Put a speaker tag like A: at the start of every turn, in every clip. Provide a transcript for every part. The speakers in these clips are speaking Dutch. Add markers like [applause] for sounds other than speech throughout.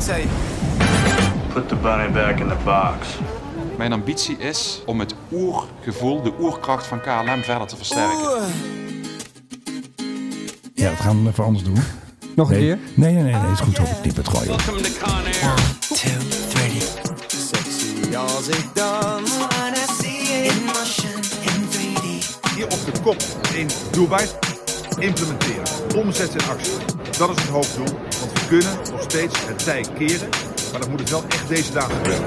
A: say.
B: Put the bunny back in the box.
C: Mijn ambitie is om het oergevoel, de oerkracht van KLM verder te versterken.
D: Ja, dat gaan we even anders doen.
E: [laughs] Nog een
D: Nee,
E: keer.
D: nee, nee, nee, nee, is goed. hoor. Ik knip het gewoon. joh.
A: Two, three. Sexy als ik dan.
F: hier op de kop in Dubai implementeren. Omzet in actie. Dat is het hoofddoel. Want we kunnen nog steeds het tij keren. Maar dat moet het wel echt deze dagen gebeuren.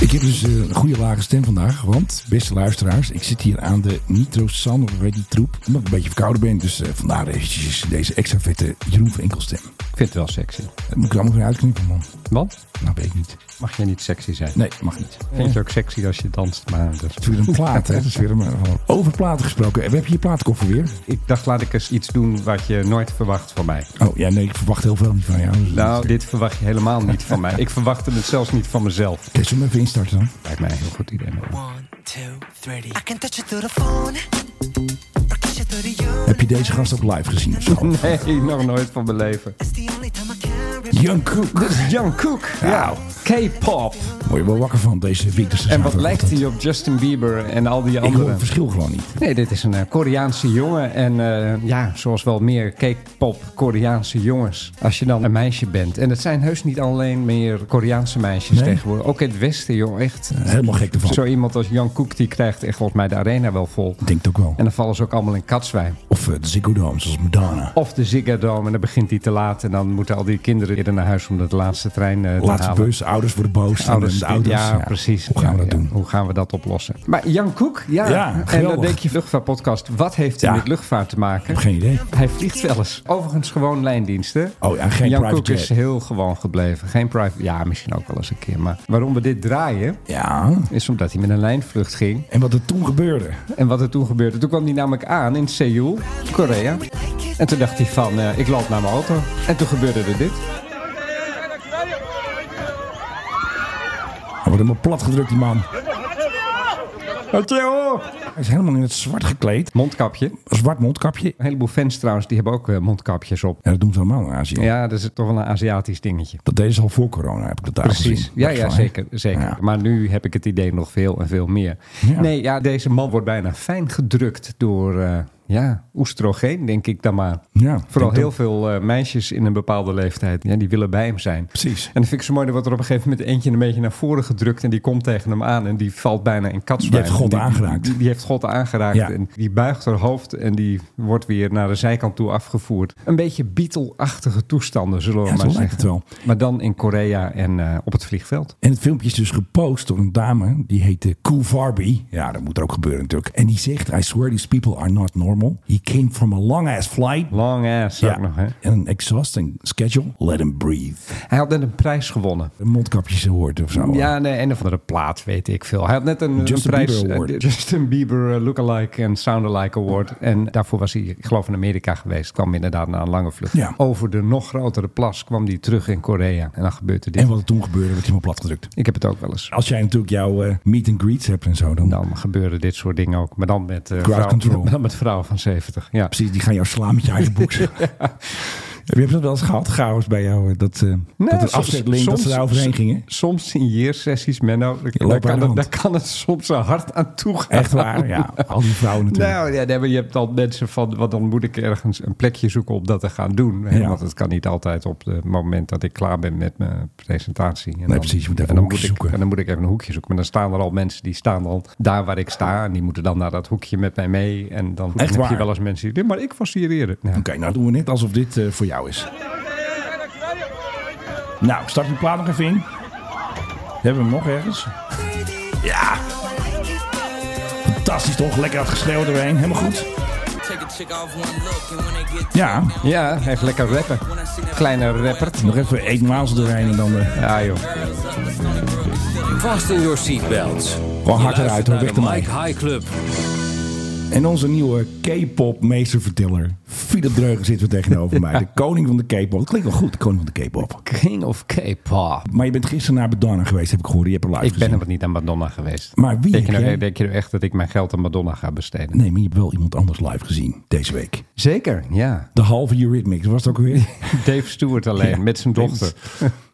D: Ik heb dus eh, een goede lage stem vandaag, want beste luisteraars, ik zit hier aan de Nitro San, of weet die troep, omdat ik een beetje verkouden ben. Dus eh, vandaar eventjes deze extra vette Jeroen van Enkelstem.
E: Ik vind het wel sexy.
D: Dat moet ik er allemaal weer uitknippen, man.
E: Want?
D: Nou, weet ik niet.
E: Mag jij niet sexy zijn?
D: Nee, mag
E: [laughs]
D: niet. Het
E: Vind je ook sexy als je danst? Maar dat
D: is weer een plaat, hè. Het is weer een, eh, van- over platen gesproken. We hebben hier plaatkoffer weer.
E: Ik dacht, laat ik eens iets doen wat je nooit verwacht van mij.
D: Oh, ja, nee, ik verwacht heel veel niet van jou. Dus
E: Nou, dit verwacht je helemaal niet van mij. [laughs] Ik verwachtte het zelfs niet van mezelf.
D: Kun je hem even instarten dan?
E: Lijkt mij een heel goed idee. maar-
A: One, two, three.
G: I can touch you through the phone. Or kiss you through the
D: Heb je deze gast ook live gezien
E: [laughs]
D: of zo?
E: Nee, nog nooit van mijn leven.
G: It's the only time I can remember.
D: Jungkook.
E: Dit is Jungkook. Ja, K-pop.
D: Word je wel wakker van deze winterse
E: En wat
D: zaterdag.
E: lijkt hij op Justin Bieber en al die
D: Ik hoor
E: anderen?
D: het verschil gewoon niet.
E: Nee, dit is een eh, Koreaanse jongen. En eh, ja, zoals wel meer K-pop Koreaanse jongens. Als je dan een meisje bent. En het zijn heus niet alleen meer Koreaanse meisjes
D: Nee. Eh,
E: tegenwoordig. Ook in het Westen, joh, echt.
D: Helemaal gek ervan.
E: Zo iemand als Jan Koek, die krijgt echt volgens mij de arena wel vol.
D: Ik denk het ook wel.
E: En dan vallen ze ook allemaal in katzwijn.
D: Of eh, de Ziggo Dome, zoals Madonna.
E: Of de Ziggo Dome en dan begint hij te laat. En dan moeten al die kinderen eerder naar huis om dat laatste trein eh, te
D: Laatste
E: halen.
D: bus, ouders worden boos.
E: Ouders,
D: en de ouders.
E: ja, precies.
D: Hoe gaan we
E: Ja,
D: dat
E: ja.
D: doen?
E: Hoe gaan we dat oplossen? Maar Jan Koek, ja.
D: Ja,
E: en
D: geweldig.
E: dan denk je, luchtvaartpodcast, wat heeft hij
D: Ja.
E: met luchtvaart te maken?
D: Geen idee.
E: Hij vliegt wel eens. Overigens gewoon lijndiensten.
D: Oh ja, geen
E: Jan
D: private
E: Koek is
D: jet.
E: heel gewoon gebleven. Geen private... Ja, misschien ook wel eens een keer. Maar waarom we dit draaien,
D: Ja.
E: is omdat hij met een lijnvlucht ging.
D: En wat er toen gebeurde.
E: En wat er toen gebeurde. Toen kwam hij namelijk aan in Seoul, Korea. En toen dacht hij van, eh, ik loop naar mijn auto. En toen gebeurde er dit.
D: Hij wordt helemaal plat gedrukt, die man.
E: Oh,
D: Hij is helemaal in het zwart gekleed.
E: Mondkapje.
D: Een zwart mondkapje.
E: Een heleboel fans trouwens, die hebben ook eh, mondkapjes op.
D: Ja, dat doen ze allemaal in Azië.
E: Ja, dat is toch wel een Aziatisch dingetje.
D: Dat deden ze al voor corona, heb ik dat daar
E: Precies.
D: gezien.
E: Ja,
D: Dat is
E: ja
D: wel, hè?
E: zeker. zeker.
D: Ja.
E: Maar nu heb ik het idee nog veel en veel meer.
D: Ja.
E: Nee, ja, deze man wordt bijna fijn gedrukt door eh, ja, oestrogeen, denk ik dan maar.
D: Ja,
E: Vooral
D: denk
E: heel veel eh, meisjes in een bepaalde leeftijd, ja, die willen bij hem zijn.
D: Precies.
E: En dat vind ik zo mooi, er wordt er op een gegeven moment eentje een beetje naar voren gedrukt en die komt tegen hem aan en die valt bijna in katswijn.
D: Die heeft God
E: En
D: aangeraakt.
E: Die, die heeft God aangeraakt
D: Ja.
E: en die buigt haar hoofd en die wordt weer naar de zijkant toe afgevoerd. Een beetje Beatle-achtige toestanden, zullen we
D: Ja,
E: maar
D: zo
E: zeggen.
D: lijkt het wel.
E: Maar dan in Korea en eh, op het vliegveld.
D: En het filmpje is dus gepost door een dame. Die heette Cool Barbie. Ja, dat moet er ook gebeuren natuurlijk. En die zegt, I swear these people are not normal. He came from a long ass flight.
E: Long ass ook nog, hè?
D: En een exhausting schedule. Let him breathe.
E: Hij had net een prijs gewonnen.
D: Een mondkapjes hoort of zo.
E: Ja, nee, een of andere plaat, weet ik veel. Hij had net een,
D: Justin
E: een prijs,
D: Bieber Award.
E: eh, de Justin Bieber eh, Lookalike en Soundalike Award. En daarvoor was hij, ik geloof, in Amerika geweest. Kwam inderdaad na een lange vlucht.
D: Ja.
E: Over de nog grotere plas kwam hij terug in Korea. En dan gebeurde dit.
D: En wat er toen gebeurde, werd helemaal platgedrukt.
E: Ik heb het ook wel eens.
D: Als jij natuurlijk jouw eh, meet and greets hebt en zo, dan
E: Dan gebeuren dit soort dingen ook. Maar dan met, eh,
D: Crowd control.
E: maar [laughs] dan met vrouwen van 70. Ja.
D: precies, die gaan jou slaan met je eigen
E: [laughs]
D: boek. Heb je dat wel eens gehad, chaos bij jou? eh, Dat, eh dat het
E: soms-
D: afzetlink, dat ze
E: soms-
D: daar overheen gingen?
E: Soms signeersessies, Menno.
D: loopt
E: Daar
D: aan
E: kan,
D: de
E: het,
D: hand.
E: daar kan het soms zo hard aan toe gaan.
D: Echt waar, ja. Al die vrouwen natuurlijk.
E: [laughs] Nou ja, nee, maar je hebt dan mensen van, want dan moet ik ergens een plekje zoeken om dat te gaan doen. hè,
D: Ja.
E: Want het kan niet altijd op het moment dat ik klaar ben met mijn presentatie. En nee,
D: precies, je moet even
E: en
D: een
E: dan
D: hoekje
E: moet ik,
D: zoeken.
E: En dan moet ik even een hoekje zoeken. Maar dan staan er al mensen die staan dan daar waar ik sta. En die moeten dan naar dat hoekje met mij mee. En dan,
D: Echt
E: heb
D: waar?
E: je wel eens mensen die maar ik was hier eerder. Ja.
D: Oké, nou doen we net alsof dit eh, voor jou is. Nou, start die plaat nog even in. Hebben we hem nog ergens? Ja! Fantastisch toch? Lekker dat geschreeuw erheen. Helemaal goed. Ja,
E: ja, echt lekker rappen. Kleine rapper.
D: nog even één maals erheen en dan eh,
E: Ja joh.
H: Vast in your seatbelts.
D: gewoon hard eruit. Hoor. Weg
H: Naar de
D: ermee.
H: Mike High Club.
D: En onze nieuwe K-pop meesterverteller Philip Dreugen zit er tegenover mij. De koning van de K-pop. Dat klinkt wel goed, de koning van de K-pop.
E: King of K-pop.
D: Maar je bent gisteren naar Madonna geweest, heb ik gehoord. Je hebt er live
E: Ik ben
D: gezien.
E: nog niet aan Madonna geweest.
D: Maar wie
E: denk je,
D: heb
E: nou,
D: jij-
E: denk je nou echt dat ik mijn geld aan Madonna ga besteden?
D: Nee, maar je hebt wel iemand anders live gezien deze week.
E: Zeker, ja.
D: De halve Eurythmics, was het ook weer?
E: [laughs] Dave Stewart alleen, met zijn dochter.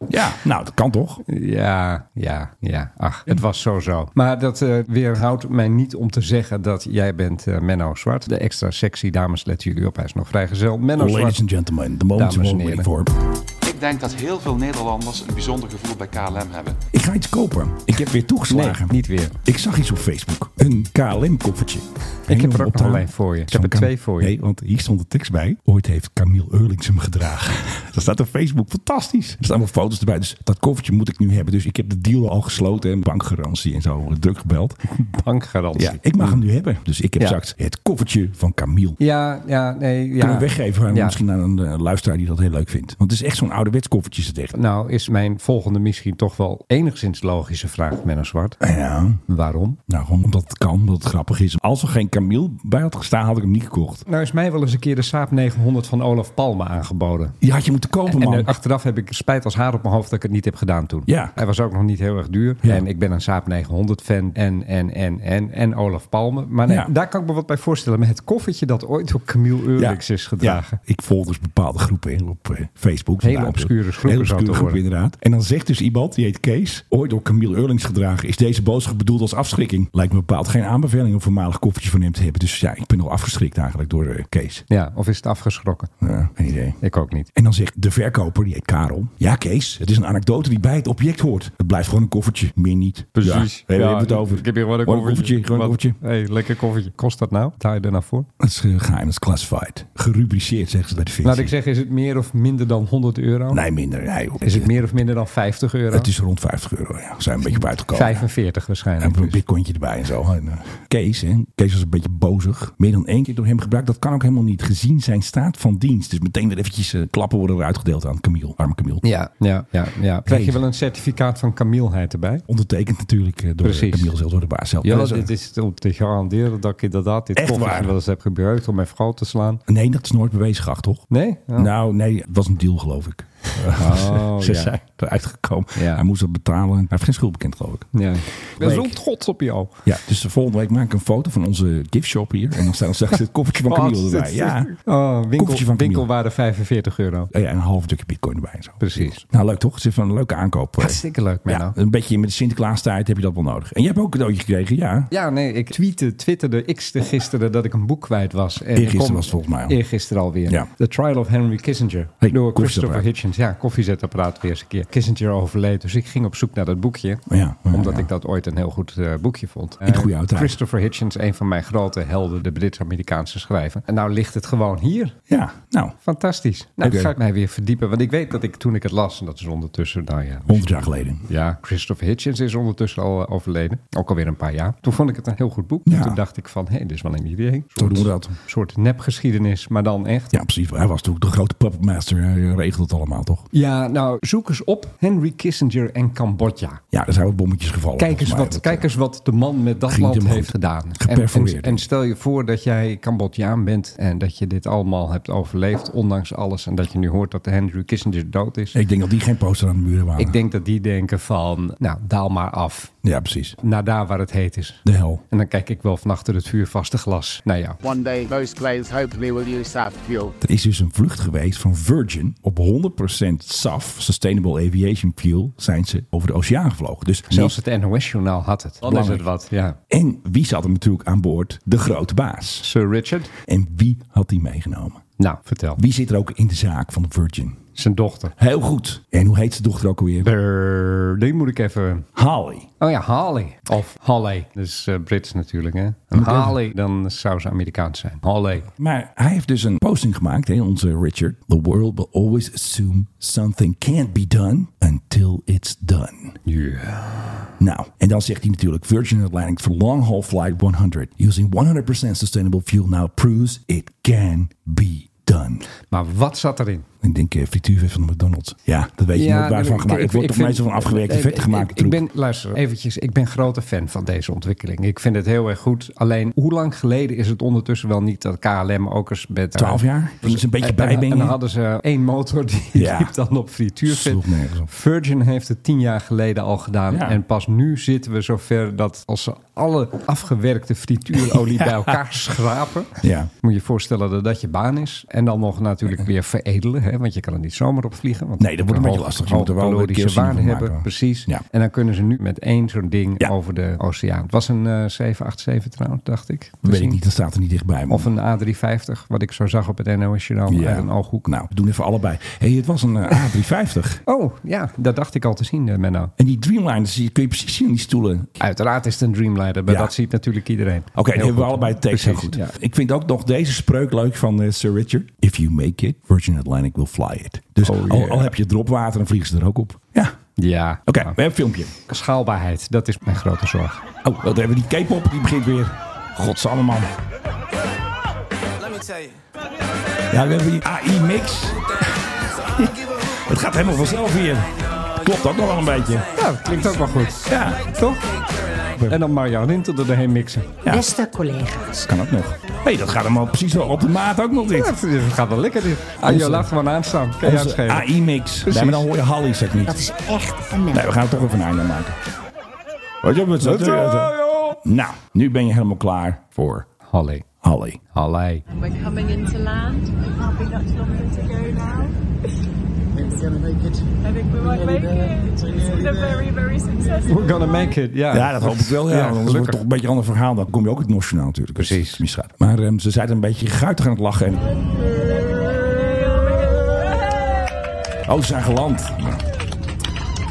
D: ja, nou, dat kan toch?
E: Ja, ja, ja. Ach, het was zo-zo. Maar dat eh, weerhoudt mij niet om te zeggen dat jij bent eh, Menno Zwart. De extra sexy dames, let jullie op. Hij is nog vrijgezel. Menno
D: Ladies
E: Zwart.
D: and gentlemen, the moment you
E: Dames en
D: all waiting for.
E: heren.
C: Ik denk dat heel veel Nederlanders een bijzonder gevoel bij KLM hebben.
D: Ik ga iets kopen. Ik heb weer
E: Nee,
D: toegeslagen.
E: niet weer.
D: Ik zag iets op Facebook. Een KLM-koffertje.
E: heb er ook nog een voor je. Ik heb er twee voor je.
D: Nee, want hier stond de tekst bij. Ooit heeft Camille Eurlings hem gedragen. [laughs] dat staat op Facebook. Fantastisch. Er staan wel foto's erbij. Dus dat koffertje moet ik nu hebben. Dus ik heb de deal al gesloten. En bankgarantie en zo. Druk gebeld.
E: Bankgarantie.
D: Ja, ik mag hem nu hebben. Dus ik heb
E: Ja.
D: straks het koffertje van Camille.
E: Ja, ja, nee. Ja.
D: Kunnen we weggeven aan,
E: Ja.
D: misschien aan een eh, luisteraar die dat heel leuk vindt. Want het is echt zo'n ouderwets koffertje, is het echt.
E: Nou is mijn volgende misschien toch wel enigszins logische vraag, Menno Zwart.
D: Ja.
E: Waarom?
D: Nou, gewoon omdat het kan, omdat het grappig is. Als er geen Camille bij had gestaan, had ik hem niet gekocht.
E: Nou is mij wel eens een keer de Saab 900 van Olaf Palme aangeboden.
D: Die had je moeten kopen,
E: En
D: man.
E: eh, achteraf heb ik spijt als haar op mijn hoofd dat ik het niet heb gedaan toen.
D: Ja.
E: Hij was ook nog niet heel erg duur.
D: Ja.
E: En ik ben een Saab 900 fan en, en, en, en, en Olaf Palme. Maar nee,
D: Ja.
E: daar kan ik me wat bij voorstellen. Maar het koffertje dat ooit door Camille Eurlings is gedragen.
D: Ja, ik volg dus bepaalde groepen hè, op eh, Facebook.
E: Hele
D: Inderdaad,
E: obscure
D: heel
E: groepen zou het
D: obscure groepen,
E: worden.
D: inderdaad. En dan zegt dus iemand, die heet Kees, ooit door Camille Eurlings gedragen, is deze boodschap bedoeld als afschrikking. Lijkt me bepaald geen aanbeveling om een voormalig koffertje van hem te hebben. Dus ja, ik ben al afgeschrikt eigenlijk door eh, Kees.
E: Ja. of is het afgeschrokken?
D: Ja, geen idee.
E: Ik ook niet.
D: En dan zegt de verkoper, die heet Karel. Ja, Kees, het is een anekdote die bij het object hoort. Het blijft gewoon een koffertje, meer niet. Ja,
E: Precies.
D: we hebben het over.
E: Ik heb hier gewoon een
D: Gewoon
E: koffertje.
D: Gewoon een
E: Wat-
D: koffertje.
E: hey, lekker koffertje. Kost dat nou? Betaal je er nou voor?
D: Het is eh, geheim, het is classified. Gerubriceerd, zeggen ze bij de Vinci.
E: Laat ik zeggen, is het meer of minder dan 100 euro?
D: Nee, minder. Nee, joh.
E: Is het meer of minder dan 50 euro?
D: Het is rond 50 euro. Ja. We zijn een beetje op uitgekomen.
E: 45
D: En
E: waarschijnlijk.
D: een bitcointje erbij en zo. En, eh, Kees, hè? Kees was een beetje bozig. Meer dan één keer door hem gebruikt. Dat kan ook helemaal niet. Gezien zijn staat van dienst. Dus meteen weer eventjes eh, klappen worden er uitgedeeld aan Camille. Arme Camille.
E: Ja, ja, ja, ja. Krijg je wel een certificaat van Camilleheid erbij?
D: Ondertekend natuurlijk eh, door
E: Precies.
D: Camille zelf, door de baas zelf.
E: Ja,
D: Dat is, eh,
E: dit is om te garanderen dat ik inderdaad dit
D: Echt
E: koffertje
D: waar?
E: wel eens heb gebruikt om mijn vrouw te slaan.
D: Nee, dat is nooit bewezen geacht, toch?
E: Nee? Ja.
D: Nou, nee, het was een deal, geloof ik. [laughs]
E: Oh,
D: Ze
E: ja.
D: zijn eruit gekomen.
E: Ja.
D: Hij moest dat betalen. Hij heeft geen schuld bekend, geloof ik.
E: Ja. Er
D: Leuk.
E: zoekt gods op jou.
D: Ja, dus de volgende week maak ik een foto van onze giftshop hier. En dan staat straks het koffertje
E: Ah,
D: van Camille erbij. Ja.
E: Oh,
D: Koffertje
E: winkel,
D: van
E: winkelwaarde 45 euro.
D: Ja, en een half stukje bitcoin erbij en zo.
E: Precies.
D: Nou, leuk toch? Het is even een leuke aankoop. eh.
E: Hartstikke leuk, Menno.
D: Ja, een beetje met de Sinterklaastijd heb je dat wel nodig. En je hebt ook een cadeautje gekregen, ja.
E: Ja, nee, ik tweette, twitterde, x'te gisteren dat ik een boek kwijt was. En
D: Eergisteren
E: ik kom-
D: was het volgens mij al.
E: Eergisteren alweer.
D: Ja.
E: The Trial of Henry Kissinger.
D: Hey,
E: door Christopher
D: koffiezetapparaat.
E: Hitchens. Ja, koffiezetapparaat weer eens een keer. Kissinger overleed, dus ik ging op zoek naar dat boekje.
D: Ja, ja,
E: omdat
D: ja.
E: ik dat ooit een heel goed eh, boekje vond.
D: In de goede
E: Eh,
D: oud-tijd.
E: Christopher Hitchens, een van mijn grote helden, de Brits-Amerikaanse schrijver. En nou ligt het gewoon hier.
D: Ja, nou,
E: Fantastisch. Nou,
D: Oké.
E: ga ik mij weer verdiepen. Want ik weet dat ik toen ik het las, en dat is ondertussen, nou ja,
D: 100 jaar geleden.
E: ja, Christopher Hitchens is ondertussen al eh, overleden. Ook alweer een paar jaar. Toen vond ik het een heel goed boek.
D: Ja.
E: En toen dacht ik van, hé, dit is wel een idee. Een
D: Zo
E: soort,
D: doen we dat.
E: soort nepgeschiedenis, maar dan echt.
D: Ja, precies. Hij was natuurlijk de grote puppetmaster. Hij regelde het allemaal, toch?
E: Ja, nou, zoek eens op Henry Kissinger en Cambodja.
D: Ja, daar zijn wat bommetjes gevallen.
E: Kijk eens,
D: volgens
E: wat,
D: mij.
E: kijk eens wat de man met dat
D: ging
E: land
D: hem
E: heeft
D: goed.
E: gedaan. En,
D: Geperforeerd.
E: en, en stel je voor dat jij Cambodjaan bent en dat je dit allemaal hebt overleefd, ondanks alles. En dat je nu hoort dat Henry Kissinger dood is.
D: Ik denk dat die geen poster aan de muren waren.
E: Ik denk dat die denken van, nou, daal maar af.
D: Ja, precies.
E: Naar daar waar het heet is.
D: De hel.
E: En dan kijk ik wel van achter het vuurvaste glas Nou ja,
H: One day, those players hopefully will use SAF fuel.
D: Er is dus een vlucht geweest van Virgin. Op 100% SAF, Sustainable Aviation Fuel, zijn ze over de oceaan gevlogen. Dus
E: Zelfs het NOS-journaal had het. Dan
D: Belangrijk.
E: wat. Ja.
D: En wie zat hem natuurlijk aan boord? De grote baas.
E: Sir Richard?
D: En wie had die meegenomen?
E: Nou, vertel.
D: Wie zit er ook in de zaak van Virgin?
E: Zijn dochter.
D: Heel goed. En hoe heet zijn dochter ook alweer?
E: Brrr, die moet ik even...
D: Holly.
E: Oh ja, Harley. Of Halley. Dat is eh, Brits natuurlijk, hè. En Harley, dan zou ze Amerikaans zijn. Halley.
D: Maar hij heeft dus een posting gemaakt, hè, onze Richard. The world will always assume something can't be done until it's done. Nou, en dan zegt hij natuurlijk Virgin Atlantic for long haul flight 100 using 100% sustainable fuel now proves it can be done.
E: Maar wat zat erin?
D: Ik denk eh frituurvet van de McDonald's. Ja, dat weet je nooit
E: nee,
D: waarvan
E: ik-
D: gemaakt.
E: ik-
D: Het wordt
E: ik
D: toch
E: vind-
D: meestal van afgewerkte
E: ik-
D: vetten
E: ik-
D: gemaakt.
E: Ik
D: troep.
E: ben, luister, eventjes, ik ben grote fan van deze ontwikkeling. Ik vind het heel erg goed. Alleen, hoe lang geleden is het ondertussen wel niet dat KLM ook eens met... eh,
D: 12 jaar? Dat is een beetje
E: en- en- En dan
D: bijbenen.
E: hadden ze één motor die
D: Ja.
E: liep dan op frituurvet.
D: Sloeg nergens op.
E: Virgin heeft het tien jaar geleden al gedaan.
D: Ja.
E: En pas nu zitten we zover dat als ze alle afgewerkte
D: [laughs]
E: frituurolie bij elkaar schrapen...
D: Ja.
E: Moet je je voorstellen dat dat je baan is. En dan nog natuurlijk weer veredelen. Hè? Want je kan er niet zomaar op vliegen. Want
D: Nee, dat wordt een beetje
E: hoge-
D: lastig. Je moet er wel
E: hoge
D: een
E: calorische
D: keelzin
E: waarde
D: van
E: hebben.
D: maken.
E: Precies.
D: Ja.
E: En dan kunnen ze nu met één zo'n ding
D: Ja.
E: over de oceaan. Het was een eh 787 trouwens, dacht ik. te
D: Weet ik
E: zien.
D: niet, dat staat er niet dichtbij. man.
E: Of een A350, wat ik zo zag op het NOS Journaal
D: Ja.
E: uit een ooghoek.
D: Nou, we doen even allebei. hey, het was een eh, A350.
E: Oh, ja, dat dacht ik al te zien, eh, Menno.
D: En die Dreamliners die kun je precies zien, die stoelen.
E: Uiteraard is het een Dreamliner, maar
D: Ja.
E: dat ziet natuurlijk iedereen.
D: Oké, die
E: Heel
D: hebben we
E: goed.
D: allebei de tekst heel
E: Precies,
D: goed.
E: ja.
D: Ik vind ook nog deze spreuk leuk van eh, Sir Richard. If you make it, Virgin Atlantic will fly it. Dus
E: Oh,
D: al,
E: yeah. Ah.
D: al heb je dropwater, dan vliegen ze er ook op. Ja, oké,
E: Ja.
D: we hebben een filmpje.
E: Schaalbaarheid, dat is mijn grote zorg.
D: Oh, wat hebben we die K-pop, die begint weer. Godsamme man.
A: Let me tell you.
D: Ja, we hebben die
A: [laughs]
D: AI-mix. Het gaat helemaal vanzelf hier. Klopt ook nog wel een beetje.
E: Ja, Nou, dat klinkt ook wel goed.
D: Ja,
E: Toch? En dan Marjaninte er doorheen mixen.
I: Beste collega's.
D: kan ook nog. Hé, hey, dat gaat helemaal precies wel op de maat ook nog dit.
E: Ja, het gaat wel lekker dit. Ah,
D: Onze-
E: joh, laat gewoon aanstaan. Kan je
D: Onze
E: aanschelen.
D: AI-mix. Nee, maar dan hoor je Hallie, zeg niet.
I: Dat is echt een
D: Nee,
I: mens.
D: we gaan het toch even een einde aan maken. Wat je met z'n Nou, nu ben je helemaal klaar voor
E: Holly.
D: Hallie.
E: Holly.
J: We're coming into land. It can't be much longer to go now. I think we might make it. This was a very, very successful.
E: We're gonna make it, ja.
D: Ja, dat hoop ik wel. Ja,
E: Ja,
D: want anders wordt het
E: gelukkig.
D: toch een beetje een ander verhaal. Dan kom je ook het nationaal natuurlijk. Dus
E: Precies.
D: het is niet schade. Maar ehm, ze zijn een beetje guitig aan het lachen. En... Oh, ze zijn geland. Nou.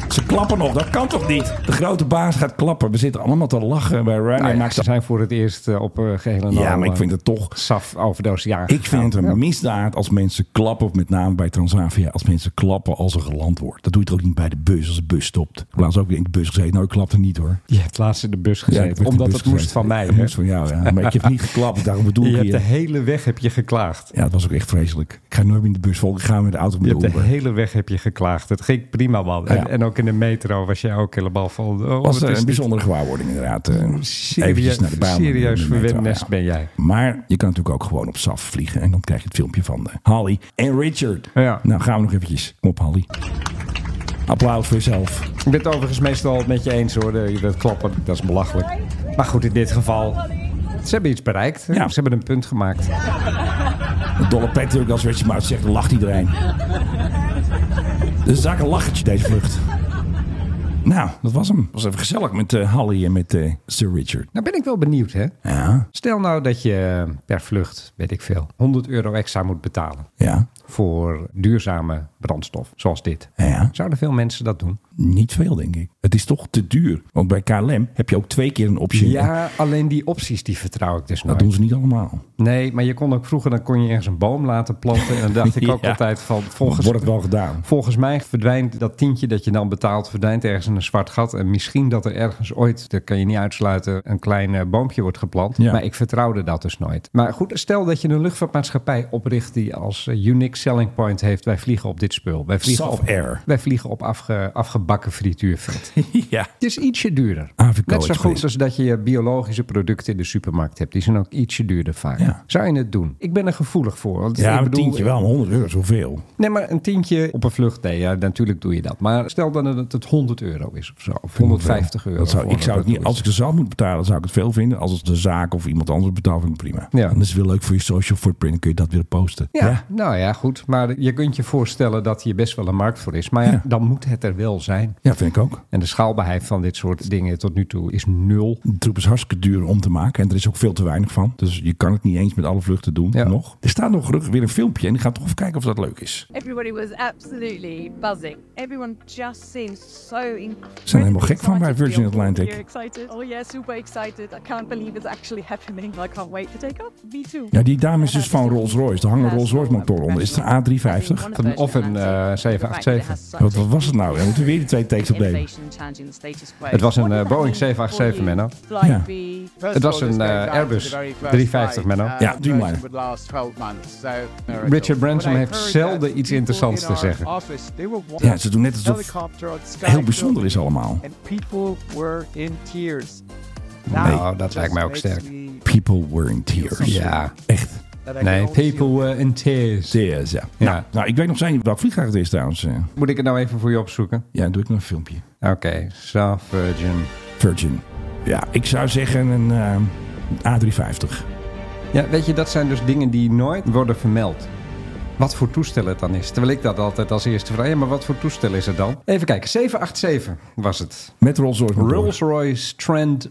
D: Ze klappen nog. Dat kan toch niet? De grote baas gaat klappen. We zitten allemaal te lachen bij Ryan.
E: Nou ja,
D: maakt
E: ze zijn voor het eerst eh, op eh geheel en al,
D: ja, maar ik
E: eh,
D: vind het toch...
E: saf over de oceaan.
D: Ik vind het
E: gegaan.
D: een misdaad als mensen klappen, of met name bij Transavia, als mensen klappen als er geland wordt. Dat doe je toch ook niet bij de bus als de bus stopt. Ik heb Laatst ook weer in de bus gezeten. Nou, ik klapte niet hoor.
E: Je hebt laatst in de bus
D: ik
E: gezeten,
D: heb in de
E: omdat
D: bus
E: het moest
D: gezeten.
E: van mij.
D: Het
E: hè?
D: moest van jou, ja. Maar ik heb niet geklapt, daarom bedoel
E: Je
D: ik
E: hebt de
D: je.
E: hele weg heb je geklaagd.
D: Ja, het was ook echt vreselijk. Ik ga nooit meer in de bus volgen. Ik ga met de auto
E: Je
D: met
E: hebt
D: de
E: de
D: Uber.
E: hele weg heb je geklaagd. Het ging prima, man. En,
D: Ja.
E: en ook in de metro was jij ook helemaal van...
D: was
E: Oh, wat
D: eh,
E: is
D: een
E: dit?
D: bijzondere gewaarwording inderdaad. Eh, eventjes
E: Serieus,
D: naar de baan.
E: serieus
D: In de metro,
E: verwendnest
D: ja.
E: ben jij.
D: Maar je kan natuurlijk ook gewoon op SAF vliegen. En dan krijg je het filmpje van eh, Holly en Richard.
E: Ja.
D: Nou, gaan we nog eventjes. Kom op, Holly. Applaus voor jezelf.
E: Ik ben het overigens meestal met je eens hoor. Eh, Dat klappen, dat is belachelijk. Maar goed, in dit geval. Ze hebben iets bereikt. hè?
D: Ja.
E: Ze hebben een punt gemaakt.
D: Een dolle pet natuurlijk als Richard Mouth zegt, dan lacht iedereen. Dus zaak een lachertje deze vlucht. Nou, dat was hem. Het was even gezellig met eh Hallie en met eh, Sir Richard.
E: Nou ben ik wel benieuwd hè.
D: Ja,
E: Stel nou dat je eh, per vlucht, weet ik veel, 100 euro extra moet betalen.
D: ja,
E: Voor duurzame brandstof, zoals dit.
D: ja.
E: Zouden veel mensen dat doen?
D: Niet veel, denk ik. Het is toch te duur. Want bij KLM heb je ook twee keer een optie.
E: Ja, alleen die opties die vertrouw ik dus
D: Dat
E: nooit.
D: doen ze niet allemaal.
E: Nee, maar je kon ook vroeger, dan kon je ergens een boom laten planten. En dan dacht
D: [laughs]
E: ik ook
D: Ja.
E: altijd van, volgens,
D: Wordt het wel
E: [laughs]
D: gedaan?
E: Volgens mij verdwijnt dat tientje dat je dan betaalt, verdwijnt ergens in een zwart gat. En misschien dat er ergens ooit, dat kan je niet uitsluiten, een klein eh, boompje wordt geplant.
D: Ja.
E: Maar ik vertrouwde dat dus nooit. Maar goed, stel dat je een luchtvaartmaatschappij opricht die als eh, unique selling point heeft, wij vliegen op dit spul. Wij vliegen
D: Soft
E: op,
D: air.
E: Wij vliegen op afge- afgebakken
D: [laughs]
E: frituurvet.
D: ja.
E: Het is ietsje duurder.
D: Avico
E: Net zo
D: Express.
E: goed als dat je je biologische producten in de supermarkt hebt. Die zijn ook ietsje duurder vaak.
D: Ja.
E: Zou je het doen? Ik ben er gevoelig voor. Want
D: Ja,
E: ik
D: een
E: bedoel,
D: tientje wel, maar 100 euro zoveel.
E: Nee, maar een tientje op een vlucht, nee, ja, natuurlijk doe je dat. Maar stel dan dat het 100 euro is of zo, of 150 euro.
D: Dat zou,
E: voor
D: ik zou het
E: dat
D: niet, als ik de zelf moet betalen, zou ik het veel vinden. Als het de zaak of iemand anders betaalt, vind ik het prima.
E: Ja.
D: En dat is wel leuk voor je social footprint. kun je dat weer posten.
E: Ja, nou ja, goed. Maar je kunt je voorstellen dat hier best wel een markt voor is. Maar ja,
D: Ja.
E: dan moet het er wel zijn.
D: ja vind ik ook.
E: En de schaalbaarheid van dit soort dingen tot nu toe is nul.
D: De troep is hartstikke duur om te maken. En er is ook veel te weinig van. Dus je kan het niet eens met alle vluchten doen.
E: Ja.
D: Nog. Er staat nog gelukkig weer een filmpje. En ik ga toch even kijken of dat leuk is.
J: Everybody was absolutely buzzing. Everyone just seems so incredible.
D: Ze zijn er helemaal gek van bij Virgin
J: You're
D: Atlantic.
J: excited? Oh yeah, super excited. I can't believe it's actually happening. I can't wait to take off. Me too.
D: Ja, die dame is dus van Rolls Royce. Er hangen Rolls Royce motoren onder. Is is een A350.
E: Een- of een eh, 787.
D: Wat, wat was het nou? We moeten weer die twee takes opnemen.
E: Het was een eh, Boeing 787, Menno.
D: Ja.
E: Het was een eh, Airbus 350, Menno.
D: Ja, doe maar.
E: Richard Branson heeft zelden iets interessants te zeggen.
D: Ja, ze doen net alsof het heel bijzonder is allemaal.
E: Nou, dat lijkt mij ook sterk.
D: People were in tears.
E: Ja.
D: Echt.
E: Nee, people were in tears.
D: Tears, ja.
E: Ja.
D: Nou, nou, ik weet nog steeds niet welk vliegtuig het is trouwens. eh.
E: Moet ik het nou even voor je opzoeken?
D: Ja, doe ik nog een filmpje.
E: Oké, so Virgin.
D: Virgin. Ja, ik zou zeggen een eh, A350.
E: Ja, weet je, dat zijn dus dingen die nooit worden vermeld. Wat voor toestel het dan is. Terwijl ik dat altijd als eerste vraag. Ja, maar wat voor toestel is het dan? Even kijken, 787 was het.
D: Met Rolls-Royce. motor.
E: Rolls-Royce Trent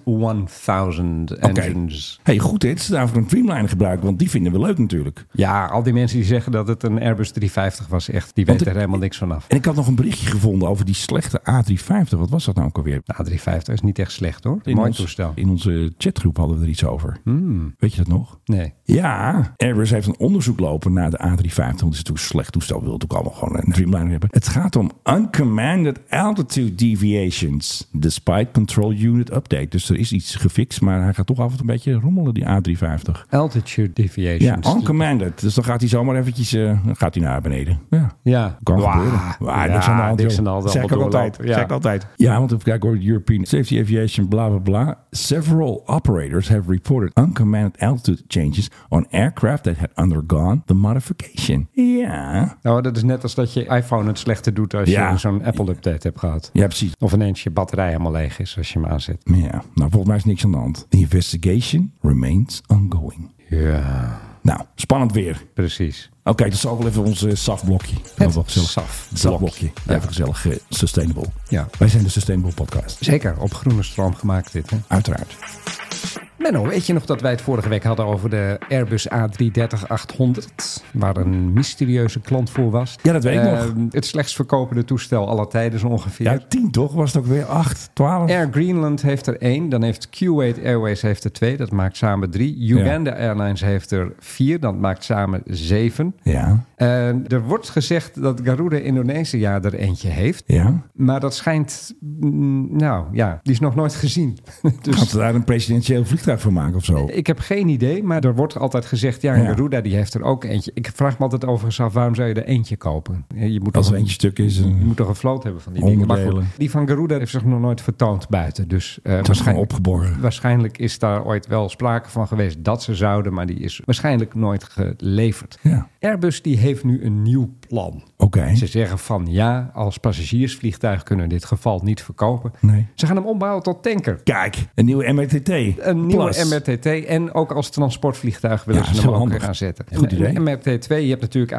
E: 1000
D: Oké.
E: engines.
D: Hey, goed dit. Ze daarvoor een Dreamliner gebruiken, want die vinden we leuk natuurlijk.
E: Ja, al die mensen die zeggen dat het een Airbus 350 was, echt, die
D: Want
E: weten er
D: ik-
E: helemaal niks van af.
D: En ik had nog een berichtje gevonden over die slechte A350. Wat was dat nou ook alweer?
E: De A350 is niet echt slecht hoor.
D: In
E: Mooi
D: ons-
E: toestel.
D: In onze chatgroep hadden we er iets over. Weet je dat nog?
E: Nee.
D: Ja, Airbus heeft een onderzoek lopen naar de A350. Want het is natuurlijk een slecht toestel. We willen natuurlijk allemaal gewoon een Dreamliner hebben. Het gaat om Uncommanded Altitude Deviations. Despite Control Unit Update. Dus er is iets gefixt, maar hij gaat toch af en toe een beetje rommelen, die A350.
E: Altitude
D: Ja,
E: deviations.
D: Uncommanded. Dus dan gaat hij zomaar eventjes eh, dan gaat hij naar beneden. Ja.
E: Ja.
D: Kan
E: Wah.
D: gebeuren.
E: Ja,
D: Waar, niks aan de hand,
E: niks
D: joh.
E: aan de hand,
D: Zeg ik
E: allemaal
D: ook altijd.
E: doorlopen. Ja.
D: Zeg ik altijd. Ja, want even kijken hoor. European Safety Aviation, bla bla bla. Several operators have reported uncommanded altitude changes on aircraft that had undergone the modification. Ja.
E: Nou, dat is net als dat je iPhone het slechter doet als
D: Ja.
E: je zo'n Apple-update hebt gehad.
D: Ja, precies.
E: Of ineens je batterij helemaal leeg is als je hem aanzet.
D: Ja, nou volgens mij is niks aan de hand. The investigation remains ongoing.
E: Ja,
D: Nou, spannend weer.
E: precies.
D: Oké, dat is ook wel even ons eh, SAF-blokje.
E: Het
D: wel gezellig.
E: SAF-blokje.
D: SAF-blokje. Even gezellig eh, sustainable.
E: Ja.
D: Wij zijn de Sustainable Podcast.
E: Zeker, op groene stroom gemaakt dit, hè?
D: Uiteraard.
E: Menno, weet je nog dat wij het vorige week hadden over de Airbus A330-800? Waar een mysterieuze klant voor was.
D: Ja, dat weet ik
E: Ehm, Het slechtst verkopende toestel aller tijden zo ongeveer.
D: Ja, tien toch? Was het ook weer acht, twaalf?
E: Air Greenland heeft er één. Dan heeft Kuwait Airways heeft er twee. Dat maakt samen drie. Uganda Airlines heeft er vier. Dat maakt samen zeven.
D: Ja,
E: En er wordt gezegd dat Garuda Indonesia er eentje heeft.
D: ja.
E: Maar dat schijnt... mm, Nou ja, die is nog nooit gezien. [laughs] dus Eh,
D: Gaan ze daar een presidentieel vliegtuig van maken of zo?
E: ik heb geen idee. Maar er wordt altijd gezegd... Ja,
D: Ja.
E: Garuda die heeft er ook eentje. Ik vraag me altijd overigens af... waarom zou je er eentje kopen? Je moet
D: Als
E: toch
D: er eentje stuk is. eh,
E: Je moet toch een vloot hebben van die dingen. Maar goed,
D: Onderdelen.
E: die van Garuda heeft zich nog nooit vertoond buiten. Dus eh,
D: Dat is gewoon
E: waarschijnlijk,
D: opgeborgen.
E: waarschijnlijk is daar ooit wel sprake van geweest dat ze zouden, maar die is waarschijnlijk nooit geleverd.
D: Ja.
E: Airbus die heeft nu een nieuw plan.
D: Oké.
E: Ze zeggen van ja, als passagiersvliegtuig kunnen we in dit geval niet verkopen.
D: Nee.
E: Ze gaan hem ombouwen tot tanker.
D: Kijk, een nieuwe MRTT.
E: Een nieuwe
D: Plus.
E: MRTT en ook als transportvliegtuig willen
D: Ja,
E: ze
D: is
E: hem ook
D: heel handig.
E: gaan zetten.
D: Goed idee.
E: En MRT2, je hebt natuurlijk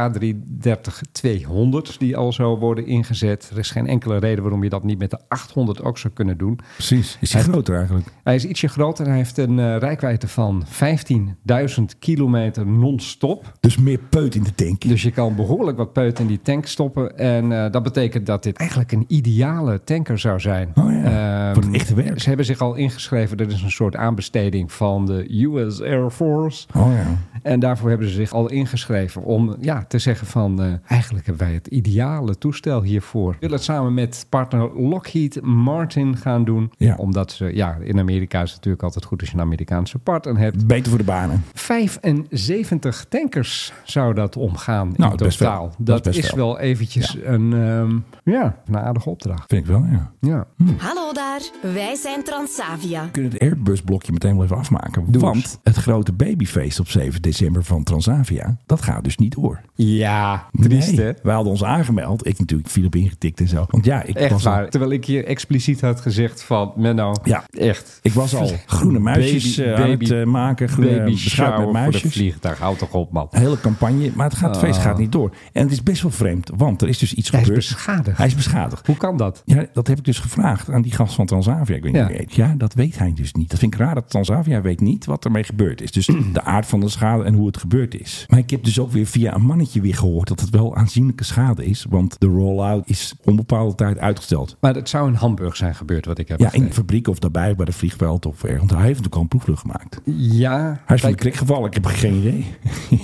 E: A330-200 die al zo worden ingezet. Er is geen enkele reden waarom je dat niet met de 800 ook zou kunnen doen.
D: Precies. Is die
E: Hij-
D: groter eigenlijk?
E: Hij is ietsje groter, hij heeft een eh, rijkwijde van 15.000 kilometer non-stop.
D: Dus meer peut in de tank.
E: Dus je kan behoorlijk wat peut in die tank stoppen. En eh, dat betekent dat dit eigenlijk een ideale tanker zou zijn.
D: Oh ja,
E: Ehm,
D: voor het echte werk.
E: Ze hebben zich al ingeschreven. Dat is een soort aanbesteding van de US Air Force.
D: Oh ja.
E: En daarvoor hebben ze zich al ingeschreven om ja, te zeggen van... eh, eigenlijk hebben wij het ideale toestel hiervoor. We willen het samen met partner Lockheed Martin gaan doen.
D: Ja.
E: Omdat ze, ja, in Amerika is het natuurlijk altijd goed als je een Amerikaanse partner hebt.
D: Beter voor de banen.
E: 75 tankers zou dat omgaan in
D: Nou, best
E: totaal.
D: wel.
E: Dat,
D: Dat is
E: is,
D: best
E: wel eventjes een, ehm, ja, een aardige opdracht.
D: Vind ik wel, ja.
E: Ja.
I: Hallo daar, wij zijn Transavia.
D: We kunnen het Airbus-blokje meteen wel even afmaken.
E: Doe
D: want
E: eens.
D: het grote babyfeest op 7 december van Transavia, dat gaat dus niet door.
E: ja, triest
D: Nee,
E: hè?
D: Wij hadden ons aangemeld. Ik natuurlijk, Filip ingetikt en zo. Want ja, ik
E: Echt
D: was al-
E: waar. Terwijl ik hier expliciet had gezegd van, Menno,
D: Ja.
E: echt.
D: Ik was al groene muisjes
E: Baby-
D: eh, aan
E: baby-
D: het eh, maken. Groene
E: Baby
D: beschuit
E: shower
D: met
E: voor de
D: muisjes.
E: vliegtuig, houd toch op man.
D: Een hele campagne, maar het, gaat, het feest gaat niet door. En het is best wel vreemd, want er is dus iets
E: Oh. Hij is
D: gebeurd.
E: beschadigd.
D: Hij is beschadigd.
E: Hoe kan dat?
D: Ja, dat heb ik dus gevraagd aan die gast van Transavia. Ik weet niet
E: Ja. [clears throat]
D: hoe die heet. ja, dat weet hij dus niet. Dat vind ik raar dat Transavia weet niet wat ermee gebeurd is. Dus de aard van de schade schade en hoe het gebeurd is. Maar ik heb dus ook weer via een mannetje weer gehoord dat het wel aanzienlijke schade is. Want de rollout is onbepaalde tijd uitgesteld.
E: Maar het zou in Hamburg zijn gebeurd, wat ik heb
D: Ja, in de
E: begrepen.
D: fabriek of daarbij bij de vliegveld of ergens. Want hij heeft natuurlijk al een proefvlucht gemaakt.
E: Ja,
D: Hij is van de
E: kijk,
D: klik gevallen, ik heb geen idee.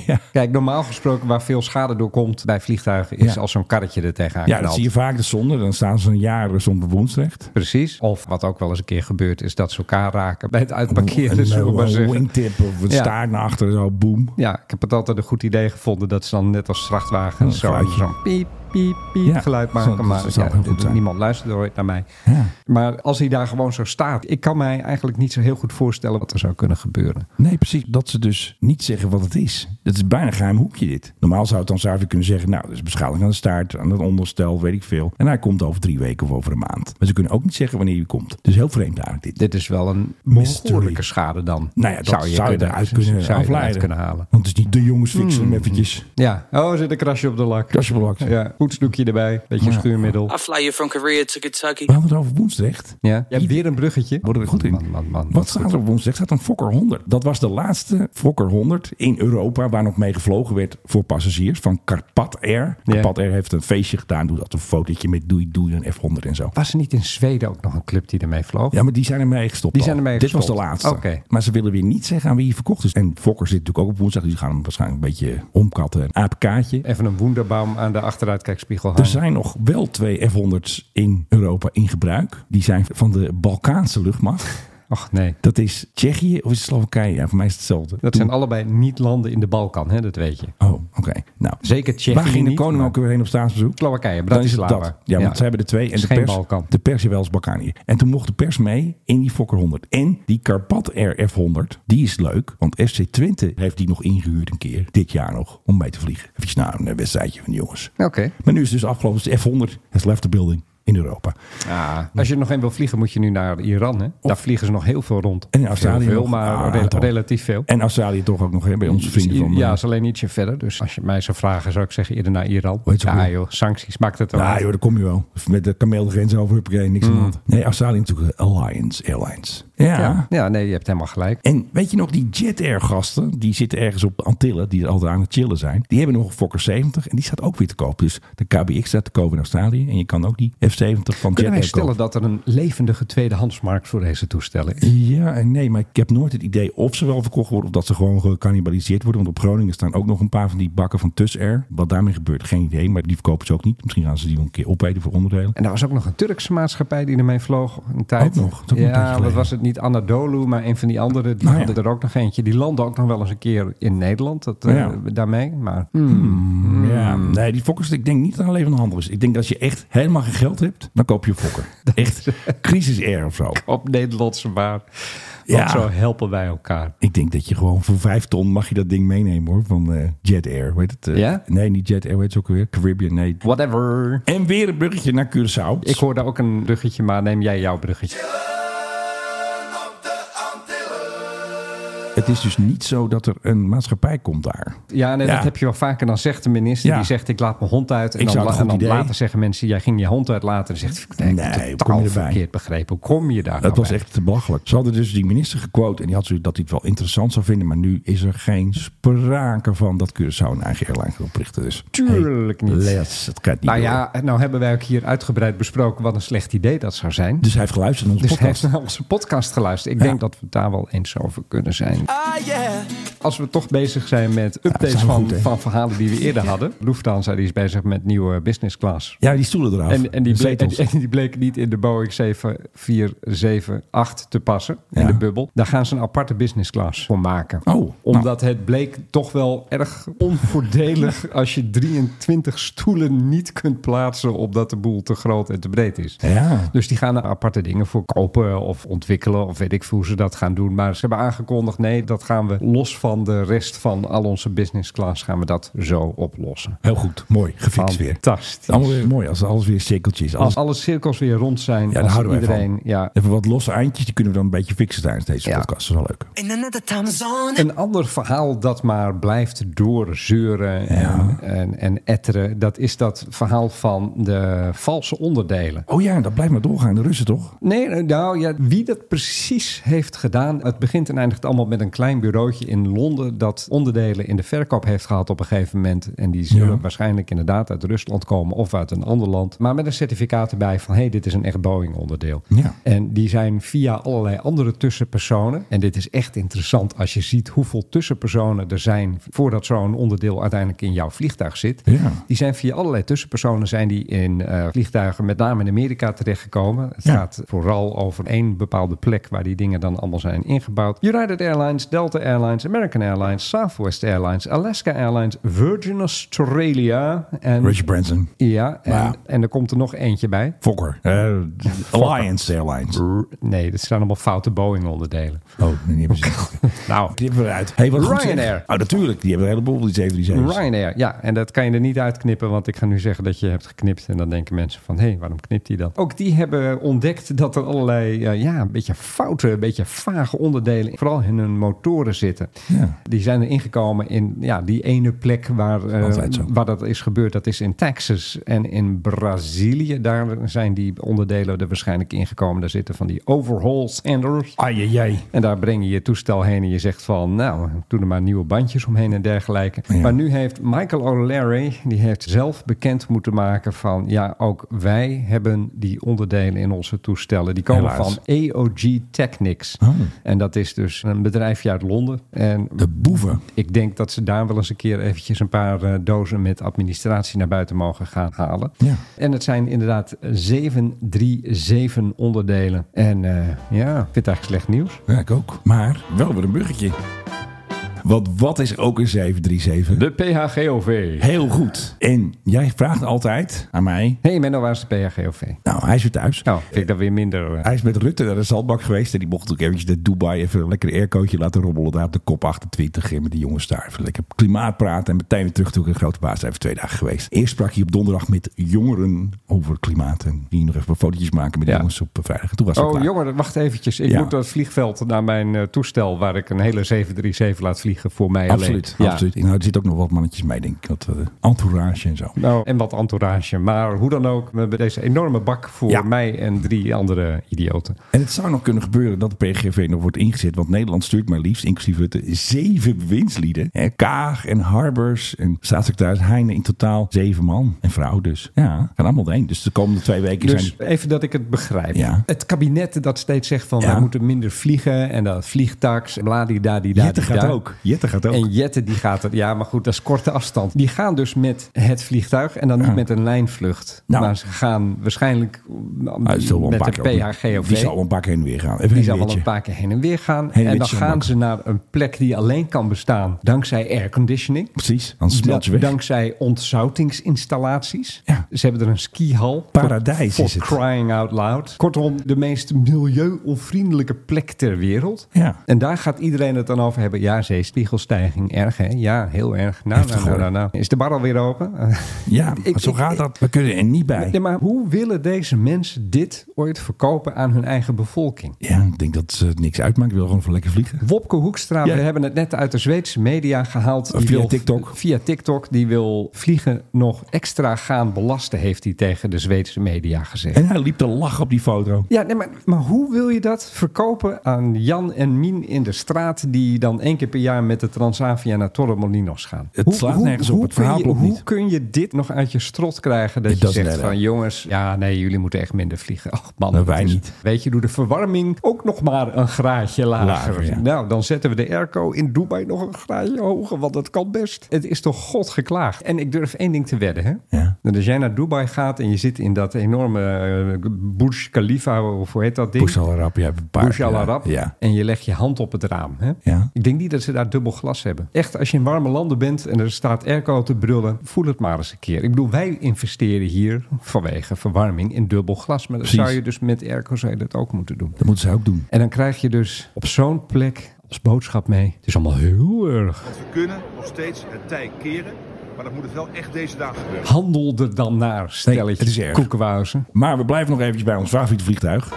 D: ja.
E: kijk, normaal gesproken waar veel schade door komt bij vliegtuigen... is
D: Ja.
E: als zo'n karretje er tegenaan
D: ja, dat
E: knalt.
D: zie je vaak de zonde. Dan staan ze een jaar zonder woensrecht.
E: Precies. Of wat ook wel eens een keer gebeurt, is dat ze elkaar raken bij het uitparkeren. zullen we maar
D: een
E: zeggen.
D: wingtip of een
E: Ja.
D: staart naar achteren, zo boem.
E: Ja, ik heb het altijd een goed idee gevonden dat ze dan net als vrachtwagen
D: Een
E: zo'n
D: geluidje.
E: zo'n piep, piep, piep
D: Ja,
E: geluid
D: zo-
E: maken.
D: dat
E: maar
D: zou
E: ja,
D: heel goed zijn.
E: niemand luistert ooit naar mij.
D: Ja.
E: Maar als hij daar gewoon zo staat, ik kan mij eigenlijk niet zo heel goed voorstellen wat er zou kunnen gebeuren.
D: Nee, precies. Dat ze dus niet zeggen wat het is. Het is bijna een geheim hoekje dit. Normaal zou het dan Zuiver kunnen zeggen... nou, dat is beschadiging aan de staart, aan het onderstel, weet ik veel. En hij komt over drie weken of over een maand. Maar ze kunnen ook niet zeggen wanneer hij komt. Dus heel vreemd eigenlijk dit.
E: Dit is wel een
D: Mystery.
E: behoorlijke schade dan.
D: Nou ja, dat zou je, eruit kunnen
E: zou je eruit
D: afleiden.
E: kunnen halen. Hmm.
D: Want het is niet de jongens fixen hem eventjes.
E: Ja, oh, er zit een krasje op de lak.
D: Dat is belakt.
E: Ja, poetsdoekje erbij, beetje
D: Ja.
E: schuurmiddel.
A: I fly you from Korea to Kentucky.
D: We hadden het over Woensdrecht.
E: Ja, je hebt weer een bruggetje.
D: Worden we goed in.
E: Man, man, man,
D: Wat staat er op woensdag? Staat een Fokker 100. Dat was de laatste Fokker 100 in Europa waar nog mee gevlogen werd voor passagiers van Carpat Air.
E: Ja.
D: Carpat Air heeft een feestje gedaan. Doe dat een fotootje met doei doei een F100 en zo.
E: Was er niet in Zweden ook nog een club die ermee vloog?
D: Ja, maar die zijn ermee gestopt.
E: Die
D: al.
E: zijn ermee
D: Dit was
E: gestopt.
D: de laatste.
E: Oké.
D: Maar ze willen weer niet zeggen aan wie hij verkocht is. En Fokker zit natuurlijk ook op woensdag. dus Die gaan hem waarschijnlijk een beetje omkatten. Een aapkaartje.
E: Even een wonderbaum aan de achteruitkijkspiegel hangen.
D: Er zijn nog wel twee F100's in Europa in gebruik. Die zijn van de Balkaanse luchtmacht.
E: [laughs] Och nee.
D: Dat is Tsjechië of is het Slowakije? Ja, voor mij is het hetzelfde.
E: Dat zijn allebei niet landen in de Balkan, hè? dat weet je.
D: Oh, oké. Nou,
E: Zeker Tsjechië
D: Waar ging de
E: niet,
D: koning
E: maar-
D: ook weer heen op staatsbezoek?
E: Slowakije,
D: Dan is het
E: Bratislava.
D: dat. Ja, want ze hebben er twee. En
E: Is
D: de
E: geen
D: pers,
E: Balkan.
D: de pers wel eens Balkanië. En toen mocht de pers mee in die Fokker 100. En die Carpat RF100, die is leuk. Want FC Twente heeft die nog ingehuurd een keer. Dit jaar nog. Om mee te vliegen. Even nou een wedstrijdje van de jongens.
E: Oké.
D: Maar nu is het dus afgelopen. Dus de F100 has left the building in Europa.
E: Ah. Als je er nog één wil vliegen, moet je nu naar Iran. Hè? Daar vliegen ze nog heel veel rond.
D: En in Australië
E: Heel veel,
D: nog
E: maar
D: een
E: rel-
D: aantal.
E: relatief veel. Dus
D: En Australië toch ook nog hè, bij onze vrienden van...
E: ja,
D: eh,
E: is alleen ietsje verder. Dus als je mij zou vragen, zou ik zeggen eerder naar Iran.
D: Weet je
E: Ja
D: hoe-
E: joh, sancties maakt het ook.
D: nou joh, daar kom je wel. Met de kameel de grens over, huppakee, niks aan de hand. Nee, Australië natuurlijk eh, Alliance Airlines. ja.
E: Mm. ja. ja, nee, je hebt helemaal gelijk.
D: En weet je nog, die Jet Air gasten, die zitten ergens op de Antillen, die er altijd aan het chillen zijn. Die hebben nog een Fokker 70 en die staat ook weer te koop. Dus de KBX staat te koop in Australië en je kan ook die F70 van Jet
E: Kunnen wij
D: Air
E: stellen
D: kopen.
E: dat er een levendige tweedehandsmarkt voor deze toestellen is?
D: Ja en nee, maar ik heb nooit het idee of ze wel verkocht worden of dat ze gewoon gecannibaliseerd worden. Want op Groningen staan ook nog een paar van die bakken van Tuss Air. Wat daarmee gebeurt, geen idee, maar die verkopen ze ook niet. Misschien gaan ze die nog een keer opeten voor onderdelen.
E: En er was ook nog een Turkse maatschappij die ermee vloog. Een tijd.
D: Ook nog? Dat is ook een tijdje
E: ja, wat
D: geleden.
E: was het? Niet Anadolu, maar een van die anderen. Die
D: Nou ja.
E: hadden er ook nog eentje. Die landde ook nog wel eens een keer in Nederland. Dat, eh,
D: Ja.
E: Daarmee. Maar hmm,
D: Ja, nee, die Fokkers, ik denk niet dat het alleen van de handel is. Ik denk dat als je echt helemaal geen geld hebt, dan koop je een
E: [laughs]
D: Fokker. Echt crisis air of zo.
E: op Nederlandse maar.
D: Ja.
E: Want zo helpen wij elkaar.
D: Ik denk dat je gewoon voor vijf ton mag je dat ding meenemen hoor. Van eh, Jet Air, weet het? eh?
E: Ja?
D: Nee, niet Jet Air, weet het ook weer? Caribbean, nee.
E: Whatever.
D: En weer een bruggetje naar Curaçao.
E: Ik hoor daar ook een bruggetje, maar neem jij jouw bruggetje.
D: Het is dus niet zo dat er een maatschappij komt daar.
E: Ja, nee,
D: Ja.
E: dat heb je wel vaker. Dan zegt de minister,
D: Ja.
E: die zegt ik laat mijn hond uit. En
D: Ik
E: dan,
D: zou het
E: la-
D: een
E: en
D: goed
E: dan
D: idee.
E: later zeggen mensen, jij ging je hond uitlaten. Dan zegt hij, nee,
D: Nee,
E: nee
D: hoe
E: totaal
D: kom je erbij?
E: verkeerd begrepen. Hoe kom je daar nou
D: Dat was
E: bij?
D: echt te belachelijk. Ze hadden dus die minister gequote en die had zoiets dat hij het wel interessant zou vinden. Maar nu is er geen sprake van dat Curaçao een eigen airline gaat oprichten. Dus
E: Tuurlijk
D: hey,
E: niet.
D: Les, het gaat niet
E: Nou
D: door.
E: ja, nou hebben wij ook hier uitgebreid besproken wat een slecht idee dat zou zijn.
D: Dus hij heeft geluisterd naar onze
E: Dus hij
D: podcast.
E: heeft naar onze podcast geluisterd. Ik denk dat we daar wel eens over kunnen zijn.
A: Ah, yeah.
E: Als we toch bezig zijn met updates
D: zijn we
E: van,
D: goed, hè?
E: van verhalen die we eerder hadden. Lufthansa die is bezig met nieuwe business class.
D: Ja, die stoelen eraf.
E: En, en, die
D: De
E: bleek, en,
D: zetels.
E: en [laughs] die bleek niet in de Boeing 7478 te passen. In
D: Ja.
E: de bubbel. Daar gaan ze een aparte business class voor maken.
D: Oh,
E: Omdat het bleek toch wel erg
D: [laughs]
E: onvoordelig als je 23 stoelen niet kunt plaatsen omdat de boel te groot en te breed is.
D: Ja.
E: Dus die gaan er aparte dingen voor kopen of ontwikkelen of weet ik veel hoe ze dat gaan doen. Maar ze hebben aangekondigd, nee, dat gaan we los van de rest van al onze business class gaan we dat zo oplossen.
D: Heel goed, mooi, gefixt weer.
E: Fantastisch.
D: Allemaal weer mooi als alles weer cirkeltjes. is.
E: Als alle cirkels weer rond zijn,
D: Ja, daar
E: als
D: houden wij
E: iedereen,
D: van.
E: ja.
D: Even wat losse eindjes, die kunnen we dan een beetje fixen tijdens deze
E: Ja.
D: podcast. Dat is wel leuk.
G: In another time zone.
E: Een ander verhaal dat maar blijft doorzeuren en, en, en etteren, dat is dat verhaal van de valse onderdelen.
D: Oh ja, dat blijft maar doorgaan. De Russen toch?
E: Nee, eh, nou ja, wie dat precies heeft gedaan, het begint en eindigt allemaal met een klein bureautje in Londen dat onderdelen in de verkoop heeft gehad op een gegeven moment. En die zullen
D: Ja.
E: waarschijnlijk inderdaad uit Rusland komen of uit een ander land. Maar met een certificaat erbij van hé, hey, dit is een echt Boeing onderdeel.
D: Ja.
E: En die zijn via allerlei andere tussenpersonen. En dit is echt interessant als je ziet hoeveel tussenpersonen er zijn voordat zo'n onderdeel uiteindelijk in jouw vliegtuig zit.
D: Ja.
E: Die zijn via allerlei tussenpersonen zijn die in eh, vliegtuigen, met name in Amerika, terechtgekomen. Het
D: Ja.
E: gaat vooral over één bepaalde plek waar die dingen dan allemaal zijn ingebouwd. United Airlines, Delta Airlines, American Airlines, Southwest Airlines, Alaska Airlines, Virgin Australia en...
D: Richard Branson.
E: Ja, en,
D: Wauw.
E: en er komt er nog eentje bij.
D: Fokker. Oh, Eh, Alliance Airlines.
E: R- Nee, dit zijn allemaal foute Boeing-onderdelen.
D: Oh, nee, niet precies.
E: [laughs] Nou,
D: Knippen we eruit. Hey, wat goed zeg.
E: Ryanair.
D: Oh, natuurlijk. Die hebben een heleboel van die 737's.
E: Ryanair, ja. En dat kan je er niet uitknippen, want ik ga nu zeggen dat je hebt geknipt. En dan denken mensen van, hé, hey, waarom knipt hij dat? Ook die hebben ontdekt dat er allerlei, eh, ja, een beetje foute, een beetje vage onderdelen, vooral in hun motoren zitten.
D: Ja.
E: Die zijn er ingekomen in ja, die ene plek waar, eh,
D: Altijd zo.
E: waar dat is gebeurd. Dat is in Texas en in Brazilië. Daar zijn die onderdelen er waarschijnlijk ingekomen. Daar zitten van die overhaul senders.
D: Ai,
E: En daar breng je je toestel heen en je zegt van, nou, doe er maar nieuwe bandjes omheen en dergelijke.
D: Ja.
E: Maar nu heeft Michael O'Leary, die heeft zelf bekend moeten maken van, ja, ook wij hebben die onderdelen in onze toestellen. Die komen
D: Helaas. Oh.
E: van EOG Technics. En dat is dus een bedrijfje uit Londen. En
D: De boeven.
E: ik denk dat ze daar wel eens een keer eventjes een paar eh, dozen met administratie naar buiten mogen gaan halen.
D: Ja.
E: En het zijn inderdaad 737 onderdelen. En eh, ja, ik vind het eigenlijk slecht nieuws.
D: Ja, ik ook. Maar wel weer een buggetje. Want wat is ook een 737?
E: De PHGOV.
D: Heel goed. En jij vraagt altijd aan mij.
E: Hé hey Menno, waar is de PHGOV?
D: Nou, hij is weer thuis.
E: Nou, vind ik dat weer minder... eh,
D: Hij is met Rutte naar de zandbak geweest. En die mocht ook eventjes naar Dubai even een lekker aircootje laten rommelen. Daar op de kop 28. En met die jongens daar even lekker klimaat praten. En meteen weer terug toen ik een grote baas. Even twee dagen geweest. Eerst sprak hij op donderdag met jongeren over klimaat. En die nog even wat fotootjes maken met de
E: Ja.
D: jongens op eh, vrijdag. En toen was het
E: Oh
D: klaar.
E: jongen, wacht eventjes. Ik
D: Ja.
E: moet dat vliegveld naar mijn eh, toestel... waar ik een hele 737 laat vliegen voor mij
D: Absoluut,
E: alleen. Ja.
D: absoluut. Nou, er zitten ook nog wat mannetjes mee, denk ik. Wat eh, entourage en zo.
E: Nou, en wat entourage. Maar hoe dan ook, we hebben deze enorme bak voor
D: Ja.
E: mij en drie andere idioten.
D: En het zou nog kunnen gebeuren dat de PGV nog wordt ingezet. Want Nederland stuurt maar liefst, inclusief Rutte, zeven bewindslieden. Hè, Kaag en Harbers en staatssecretaris Heijnen in totaal zeven man. En vrouw dus. Ja, gaan allemaal heen. Dus de komende twee weken
E: Dus
D: zijn...
E: even dat ik het begrijp.
D: Ja.
E: Het kabinet dat steeds zegt van
D: Ja.
E: wij moeten minder vliegen en dat vliegtax, bladidadida.
D: Jette gaat ook. Jette gaat ook.
E: En Jette die gaat er, ja maar goed, dat is korte afstand. Die gaan dus met het vliegtuig en dan niet met een lijnvlucht.
D: Nou.
E: maar ze gaan waarschijnlijk
D: Ah, het zal wel een
E: met
D: paar
E: de
D: keer ook-
E: PHGOV.
D: Die zal wel een pak heen en weer gaan. Even
E: Die
D: een
E: zal wel een
D: beetje.
E: paar keer heen en weer gaan.
D: en
E: en dan
D: weertje
E: gaan
D: maken.
E: ze naar een plek die alleen kan bestaan dankzij airconditioning.
D: Precies, dan smelt je
E: Da-
D: weg.
E: Dankzij ontzoutingsinstallaties.
D: Ja.
E: Ze hebben er een skihal.
D: Paradijs
E: voor,
D: is het.
E: Voor crying out loud. Kortom, de meest milieu-onvriendelijke plek ter wereld.
D: Ja.
E: En daar gaat iedereen het dan over hebben. Ja, zeespiegelstijging, erg hè? Ja, heel erg. Nou,
D: Heftig,
E: nou, nou,
D: hoor.
E: nou, nou. Is de bar alweer open?
D: Ja, maar
E: Ik-
D: zo
E: ik-
D: gaat
E: ik-
D: dat. We kunnen er niet bij.
E: [laughs] Nee, maar hoe willen deze mensen dit ooit verkopen aan hun eigen bevolking?
D: Ja, ik denk dat het niks uitmaakt. Ik wil gewoon voor lekker vliegen.
E: Wopke Hoekstra,
D: Ja.
E: we hebben het net uit de Zweedse media gehaald. Die
D: Via
E: wil-
D: TikTok.
E: Via TikTok. Die wil vliegen nog extra gaan belasten, heeft hij tegen de Zweedse media gezegd.
D: En hij liep te lachen op die foto.
E: Ja, nee, maar, maar hoe wil je dat verkopen aan Jan en Mien in de straat... die dan één keer per jaar met de Transavia naar Torremolinos gaan?
D: Het slaat nergens op, het
E: kun
D: verhaal
E: je-
D: klopt
E: hoe
D: niet.
E: kun je dit nog uit je strot krijgen dat
D: It
E: je
D: doesn't
E: zegt
D: add
E: van...
D: up.
E: jongens, ja, nee, jullie moeten echt minder vliegen. Ach man,
D: Nou,
E: dat
D: wij
E: is-
D: niet.
E: Weet je, doe de verwarming ook nog maar een graadje lager.
D: Lager, ja.
E: Nou, dan zetten we de airco in Dubai nog een graadje hoger, want dat kan best. Het is toch god geklaagd. En ik durf één ding te wedden, hè?
D: Ja.
E: Dat Nou, als jij naar Dubai gaat en je zit in dat enorme eh, Burj Khalifa, of hoe heet dat ding?
D: Bush al Arab, jij hebt een paar.
E: Burj Al Arab.
D: Ja.
E: En je legt je hand op het raam. Hè?
D: Ja.
E: Ik denk niet dat ze daar dubbel glas hebben. Echt, als je in warme landen bent en er staat airco te brullen, voel het maar eens een keer. Ik bedoel, wij investeren hier vanwege verwarming in dubbel glas. Maar dat
D: Precies.
E: zou je dus met airco zou je dat ook moeten doen.
D: Dat moeten ze ook doen.
E: En dan krijg je dus op zo'n plek als boodschap mee. Het is allemaal heel erg.
F: Want we kunnen nog steeds het tij keren, maar dat moet het wel echt deze dagen gebeuren.
E: Handel er dan naar, stelletje
D: het is erg.
E: koekenwauzen.
D: Maar we blijven nog eventjes bij ons favoriete vliegtuig.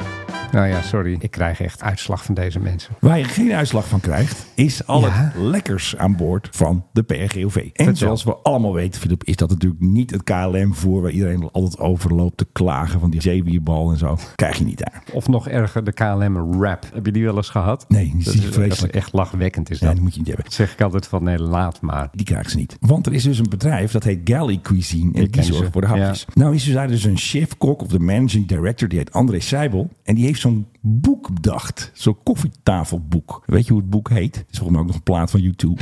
E: Nou ja, sorry. Ik krijg echt uitslag van deze mensen.
D: Waar je geen uitslag van krijgt, is al
E: Ja.
D: het lekkers aan boord van de PRGOV. En zoals we allemaal weten, Filip, is dat natuurlijk niet het KLM-voer waar iedereen altijd over loopt te klagen van die zeewierbal en zo. Krijg je niet daar.
E: Of nog erger, de KLM Rap. Heb je die wel eens gehad?
D: Nee, die
E: Dat
D: zie
E: is
D: ik vreselijk.
E: echt lachwekkend is
D: Ja,
E: dat.
D: die moet je niet hebben.
E: Dat zeg ik altijd van nee, laat maar.
D: Die krijgen ze niet. Want er is dus een bedrijf dat heet Galley Cuisine. En
E: Ik
D: die,
E: ken
D: zorgt
E: ze,
D: voor de hapjes.
E: ja.
D: Nou is dus daar dus een chef-kok of de managing director. Die heet André Seibel. En die heeft zo'n boek bedacht. Zo'n koffietafelboek. Weet je hoe het boek heet? Het is volgens mij ook nog een plaat van YouTube.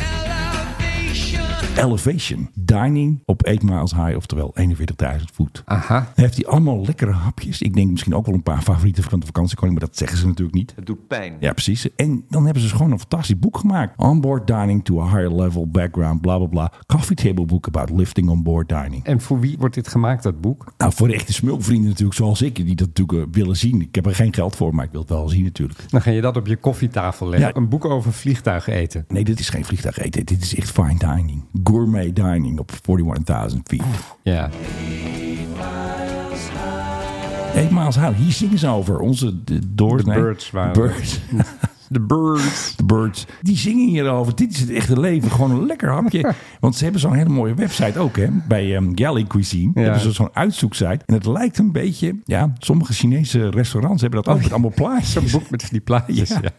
D: Elevation. Dining op 8 miles high. Oftewel 41.000 voet.
E: Aha.
D: Heeft hij allemaal lekkere hapjes. Ik denk misschien ook wel een paar favorieten van de vakantiekoning. Maar dat zeggen ze natuurlijk niet.
B: Het doet pijn.
D: Ja, precies. En dan hebben ze dus gewoon een fantastisch boek gemaakt. Onboard dining to a higher level background, bla bla bla. Coffee table book about lifting onboard dining.
E: En voor wie wordt dit gemaakt, dat boek?
D: Nou, voor de echte smulvrienden natuurlijk, zoals ik, die dat natuurlijk eh, willen zien. Ik heb er geen geld voor, maar ik wil het wel zien natuurlijk.
E: Dan ga je dat op je koffietafel leggen.
D: Ja.
E: Een boek over vliegtuig eten.
D: Nee, dit is geen vliegtuig eten. Dit is echt fine dining. Gourmet dining op 41.000 feet.
E: Ja.
D: Hey, Maas Haar, hier zingen ze over. Onze de, doors,
E: De
D: nee,
E: birds waren
D: birds.
E: [laughs] The Birds.
D: de birds. Die zingen hierover. Dit is het echte leven. Gewoon een lekker
E: [laughs]
D: hapje. Want ze hebben zo'n hele mooie website ook, hè? Bij ehm Galley Cuisine.
E: Ja.
D: Hebben ze zo'n uitzoeksite. En het lijkt een beetje... Ja, sommige Chinese restaurants hebben dat ook. met allemaal
E: [laughs] Zo'n
D: plaatjes.
E: boek met die plaatjes.
D: Ja.
E: Ja.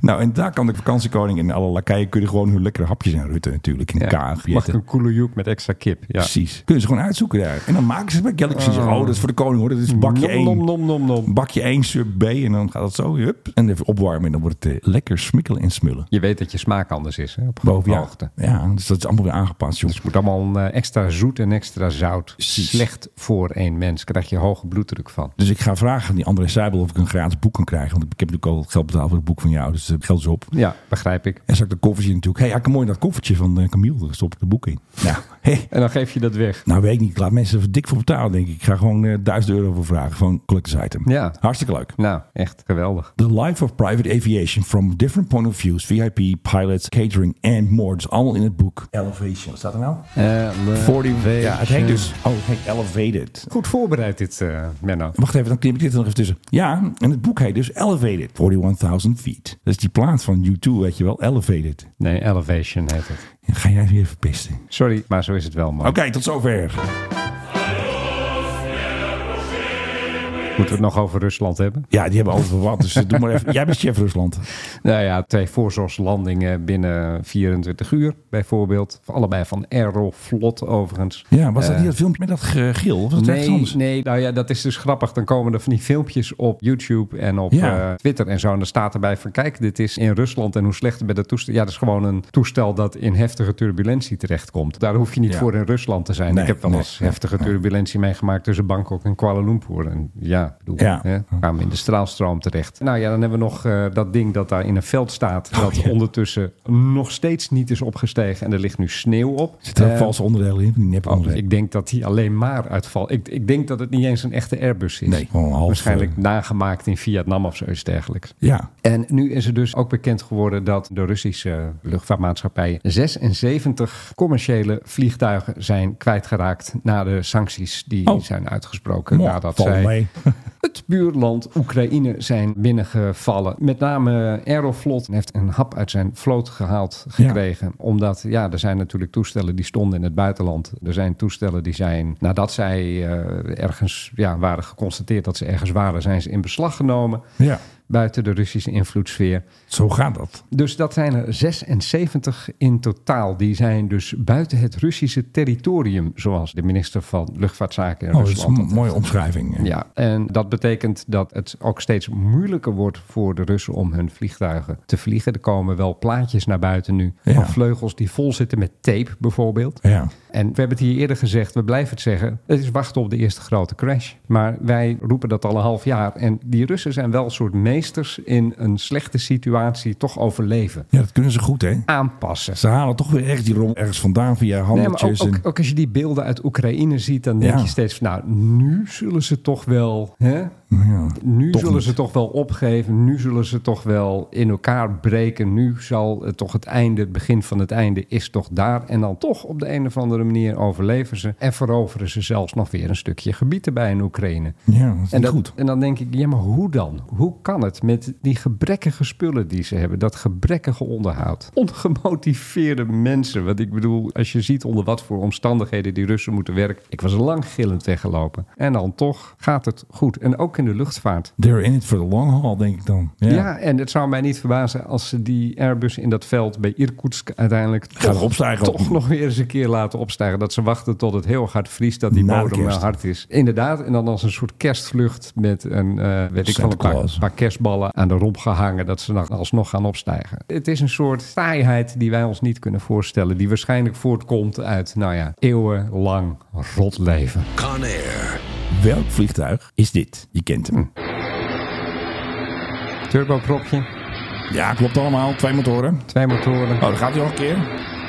D: Nou, en daar kan de vakantiekoning en alle lakeien kunnen gewoon hun lekkere hapjes aan rutten natuurlijk. In
E: Ja.
D: elkaar
E: Mag ik
D: kaag.
E: een koele joek met extra kip? Ja. Ah.
D: Precies. Kunnen ze gewoon uitzoeken daar. En dan maken ze het bij Galley Cuisine. Oh, dat is voor de koning hoor. Dat is bakje
E: nom, nom,
D: één.
E: nom, nom, nom.
D: Bakje één sub B en dan gaat het zo, hup. En even opwarmen en dan wordt het eh, lekker smikkelen en smullen.
E: Je weet dat je smaak anders is hè, op
D: Boven
E: grote
D: ja.
E: hoogte.
D: Ja, dus dat is allemaal weer aangepast, joh.
E: Dus het moet allemaal eh, extra zoet en extra zout.
D: Precies.
E: Slecht voor één mens. Krijg je hoge bloeddruk van.
D: Dus ik ga vragen aan die André Seibel of ik een gratis boek kan krijgen. Want ik heb natuurlijk al geld betaald voor het boek van jou, dus eh, geld is op.
E: Ja, begrijp ik.
D: En zag ik dat koffertje natuurlijk. Hé, hey, ik mooi in dat koffertje van eh, Camille. Daar stop ik de boek in. Nou, [laughs] hey.
E: En dan geef je dat weg.
D: nou weet ik niet. Ik laat mensen er dik voor betalen, denk ik. Ik ga gewoon eh, 1000 euro voor vragen. Gewoon collectors item.
E: Ja.
D: Hartstikke leuk.
E: Nou, echt geweldig.
D: The Life of Private Aviation from Different Point of Views. VIP, pilots, catering and more. Dus allemaal in het boek. Elevation. Wat staat er nou? 40. Ja, het heet dus... Oh, het heet Elevated.
E: Goed voorbereid dit, eh Menno.
D: Wacht even, dan knip ik dit er nog even tussen. Ja, en het boek heet dus Elevated, 41.000 Feet. Dat is die plaat van U2, weet je wel, Elevated.
E: Nee, Elevation heet het. Oh.
D: Ja, Ga jij weer verpisten.
E: Sorry, maar zo is het wel, man.
D: Oké, tot zover.
E: Moeten we het nog over Rusland hebben?
D: Ja, die hebben over wat, dus eh, doe maar even. Jij bent chef Rusland.
E: Nou ja, twee voorzorgslandingen binnen 24 uur, bijvoorbeeld. Allebei van Aeroflot, overigens.
D: Ja, was dat niet dat filmpje met dat ge- geel? Of was dat ergens
E: Eh. Nee,
D: anders?
E: nee, nou ja, dat is dus grappig. Dan komen er van die filmpjes op YouTube en op
D: Ja.
E: eh, Twitter en zo. En dan staat erbij van, kijk, dit is in Rusland en hoe slecht het met dat toestel... Ja, dat is gewoon een toestel dat in heftige turbulentie terechtkomt. Daar hoef je niet
D: Ja.
E: voor in Rusland te zijn.
D: Nee,
E: Ik heb wel
D: nee,
E: eens
D: nee,
E: heftige
D: nee.
E: turbulentie meegemaakt tussen Bangkok en Kuala Lumpur. En ja, ik bedoel,
D: Ja.
E: Hè, kwamen in de straalstroom terecht. Nou ja, dan hebben we nog eh, dat ding dat daar in een veld staat... dat
D: Oh, ja.
E: ondertussen nog steeds niet is opgestegen. En er ligt nu sneeuw op.
D: Zit er een
E: Eh,
D: valse onderdeel in? van Die nep
E: Oh,
D: onderdelen?
E: ik denk dat die alleen maar uitval. Ik, ik denk dat het niet eens een echte Airbus is.
D: Nee, gewoon een half,
E: Waarschijnlijk
D: eh,
E: nagemaakt in Vietnam of zoiets dergelijks.
D: Ja,
E: En nu is er dus ook bekend geworden dat de Russische luchtvaartmaatschappijen 76 commerciële vliegtuigen zijn kwijtgeraakt na de sancties die
D: Oh.
E: zijn uitgesproken.
D: Mo,
E: nadat
D: val
E: zij
D: mee. [laughs]
E: het buurland Oekraïne zijn binnengevallen. Met name Aeroflot heeft een hap uit zijn vloot gehaald gekregen. Omdat, ja, er zijn natuurlijk toestellen die stonden in het buitenland. Er zijn toestellen die zijn, nadat zij eh, ergens ja, waren geconstateerd dat ze ergens waren, zijn ze in beslag genomen.
D: Ja,
E: Buiten de Russische invloedssfeer.
D: zo gaat dat.
E: Dus dat zijn er 76 in totaal. Die zijn dus buiten het Russische territorium, zoals de minister van Luchtvaartzaken in
D: Oh, dat is
E: Rusland.
D: een
E: dat heeft
D: mooie omschrijving. eh.
E: ja, en dat betekent dat het ook steeds moeilijker wordt voor de Russen om hun vliegtuigen te vliegen. Er komen wel plaatjes naar buiten nu
D: Ja.
E: van vleugels die vol zitten met tape bijvoorbeeld.
D: Ja.
E: En we hebben het hier eerder gezegd, we blijven het zeggen, het is wachten op de eerste grote crash. Maar wij roepen dat al een half jaar. En die Russen zijn wel een soort meesters in een slechte situatie toch overleven.
D: ja, dat kunnen ze goed, hè?
E: Aanpassen.
D: Ze halen toch weer echt die rommel ergens vandaan via
E: Nee, maar ook,
D: handeltjes.
E: ook,
D: en...
E: ook als je die beelden uit Oekraïne ziet, dan denk
D: Ja.
E: je steeds van, nou, nu zullen ze toch wel hè,
D: Ja.
E: Nu
D: Toch
E: zullen
D: niet.
E: ze toch wel opgeven. Nu zullen ze toch wel in elkaar breken. Nu zal het toch het einde, het begin van het einde is toch daar. En dan toch op de een of andere manier overleven ze. En veroveren ze zelfs nog weer een stukje gebied erbij in Oekraïne.
D: Ja, dat is
E: en,
D: niet
E: dat-
D: goed.
E: en dan denk ik, ja, maar hoe dan? Hoe kan het met die gebrekkige spullen die ze hebben? Dat gebrekkige onderhoud. Ongemotiveerde mensen. Want ik bedoel, als je ziet onder wat voor omstandigheden die Russen moeten werken. Ik was lang gillend weggelopen. En dan toch gaat het goed. En ook in de luchtvaart.
D: They're in it for the long haul, denk ik dan. Ja.
E: Ja. en het zou mij niet verbazen als ze die Airbus in dat veld bij Irkutsk uiteindelijk toch,
D: opstijgen.
E: toch nog weer eens een keer laten opstijgen. Dat ze wachten tot het heel hard vriest, dat die
D: Na de
E: bodem eh,
D: kerst.
E: hard is. Inderdaad, en dan als een soort kerstvlucht met een, eh, weet ik
D: Santa
E: van een paar,
D: Claus.
E: paar kerstballen aan de romp gehangen, dat ze dan alsnog gaan opstijgen. Het is een soort saaiheid die wij ons niet kunnen voorstellen, die waarschijnlijk voortkomt uit, nou ja, eeuwenlang rot leven.
D: Welk vliegtuig is dit? Je kent hem.
E: Turbopropje, Hm.
D: Ja, klopt allemaal. Twee motoren.
E: twee motoren,
D: Oh, daar gaat hij nog een keer.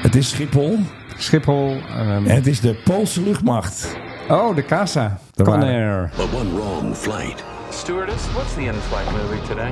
D: Het is Schiphol.
E: Hm. Schiphol. ehm,
D: En het is de Poolse luchtmacht.
E: Oh, de Casa.
D: De
E: Conair.
B: Stewardess, what's the in-flight movie today?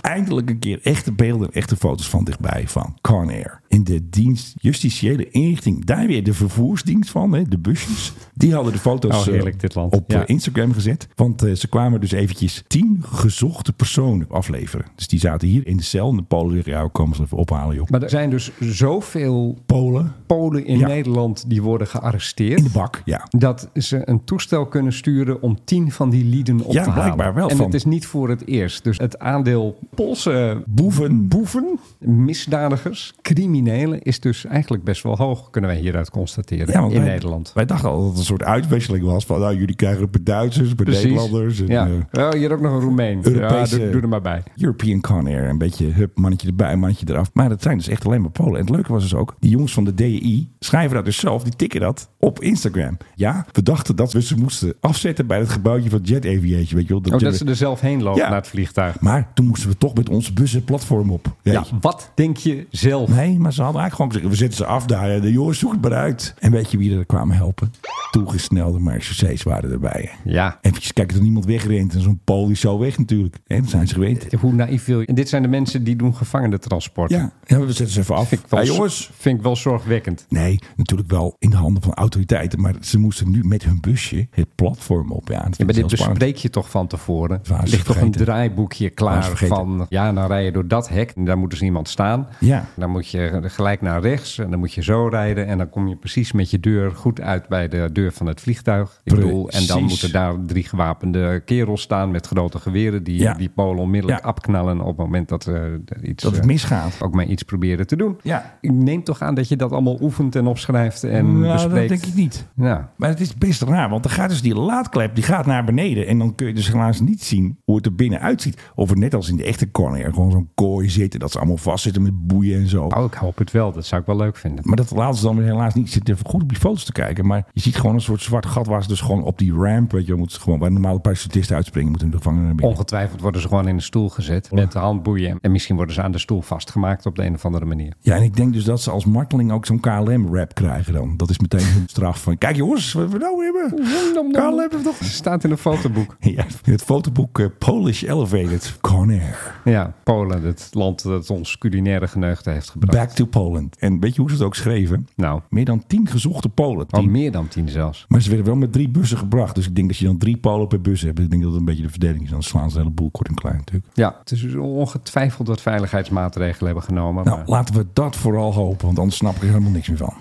D: Eindelijk een keer echte beelden en echte foto's van dichtbij van Conair. En de dienst justitiële inrichting, daar weer de vervoersdienst van, hè, de busjes. Die hadden de foto's
E: Oh, heerlijk,
D: eh,
E: dit land.
D: op
E: Ja.
D: eh, Instagram gezet. Want eh, ze kwamen dus eventjes tien gezochte personen afleveren. Dus die zaten hier in de cel. En de Polen zeggen, ja, kom eens even ophalen, joh.
E: Maar er zijn dus zoveel
D: Polen
E: Polen in
D: Ja.
E: Nederland die worden gearresteerd.
D: in de bak, ja.
E: Dat ze een toestel kunnen sturen om tien van die lieden op
D: Ja,
E: te halen.
D: blijkbaar wel
E: en
D: van-
E: het is niet voor het eerst. Dus het aandeel Poolse eh,
D: Boeven.
E: boeven, misdadigers, criminelen is dus eigenlijk best wel hoog, kunnen wij hieruit constateren in
D: wij-
E: Nederland.
D: Wij dachten al dat het een soort uitwisseling was. Van nou, jullie krijgen het bij Duitsers, bij Nederlanders. En,
E: ja.
D: eh,
E: Oh, hier ook nog een Roemeen.
D: Europese-
E: Ja, doe, doe er maar bij.
D: European Conair. Een beetje hup, mannetje erbij, mannetje eraf. Maar dat zijn dus echt alleen maar Polen. En het leuke was dus ook, die jongens van de DEI schrijven dat dus zelf. Die tikken dat op Instagram. Ja, we dachten dat we ze moesten afzetten bij het gebouwtje van Jet Aviation. Weet je wel.
E: Oh, dat ze er zelf heen lopen
D: Ja.
E: naar het vliegtuig.
D: Maar toen moesten we toch met onze bussen platform op. Ja.
E: Ja, wat denk je zelf?
D: Nee, maar ze hadden eigenlijk gewoon gezegd, we zetten ze af daar. De jongens, zoek het maar uit. En weet je wie er kwamen helpen? Toegesnelde marechaussées waren erbij. hè.
E: Ja.
D: Even kijken dat niemand wegrent. En zo'n Pool is zo weg natuurlijk. Hè, dat zijn ze gewend.
E: Hoe naïef wil je? En dit zijn de mensen die doen gevangenentransport.
D: Ja, ja we zetten ze even af.
E: Vind ik wel,
D: Hey, jongens.
E: Vind ik wel zorgwekkend.
D: Nee, natuurlijk wel in de handen van autoriteiten. Maar ze moesten nu met hun busje het platform op. Ja, dat
E: Ja, maar
D: vind ik
E: dit
D: heel spannend.
E: bespreek je toch van tevoren?
D: Waar
E: Er
D: is
E: ligt toch een
D: vergeten?
E: draaiboekje
D: Waar is
E: klaar
D: vergeten?
E: van... ja, dan rij je door dat hek en daar moet dus iemand staan.
D: Ja.
E: Dan moet je gelijk naar rechts en dan moet je zo rijden... en dan kom je precies met je deur goed uit bij de deur van het vliegtuig. Ik bedoel, en dan
D: Precies.
E: moeten daar drie gewapende kerels staan... met grote geweren die,
D: Ja.
E: die Polen onmiddellijk
D: Ja.
E: afknallen... op het moment dat er iets...
D: Dat het
E: eh,
D: misgaat.
E: ook maar iets proberen te doen.
D: Ja.
E: Ik neem toch aan dat je dat allemaal oefent en opschrijft en
D: Nou, dat
E: bespreekt.
D: denk ik niet.
E: Ja.
D: Maar het is best raar, want dan gaat dus die laadklep die gaat naar beneden. En dan kun je dus helaas niet zien hoe het er binnen uitziet. Of het net als in de echte corner gewoon zo'n kooi zit. En dat ze allemaal vastzitten met boeien en zo.
E: Oh, ik hoop het wel. Dat zou ik wel leuk vinden.
D: Maar dat laten ze dan weer helaas niet. Ik zit even goed op die foto's te kijken. Maar je ziet gewoon een soort zwart gat waar ze dus gewoon op die ramp. Weet je, wel, moeten ze gewoon waar normale parachutisten uitspringen. Moeten de gevangenen
E: Oh,
D: naar binnen.
E: Ongetwijfeld worden ze gewoon in de stoel gezet met de handboeien. En misschien worden ze aan de stoel vastgemaakt op de een of andere manier.
D: Ja, en ik denk dus dat ze als marteling ook zo'n KLM-rap krijgen dan. Dat is meteen hun [laughs] straf van... Kijk jongens, wat we nou hebben. [laughs] KLM heeft toch...
E: Staat in een fotoboek.
D: Ja, in het fotoboek eh, Polish Elevated. Conair.
E: Ja, Polen, het land dat ons culinaire geneugde heeft gebracht.
D: Back to Poland. En weet je hoe ze het ook schreven?
E: Nou,
D: Meer dan tien gezochte Polen.
E: al
D: Tien.
E: Oh, meer dan tien zelfs.
D: Maar ze werden wel met drie bussen gebracht. Dus ik denk dat je dan drie Polen per bus hebt. Ik denk dat dat een beetje de verdeling is. Dan slaan ze een heleboel kort en klein natuurlijk.
E: Ja, het is dus ongetwijfeld wat veiligheidsmaatregelen hebben genomen.
D: Nou,
E: maar-
D: laten we dat vooral hopen, want anders snap ik er helemaal niks meer van.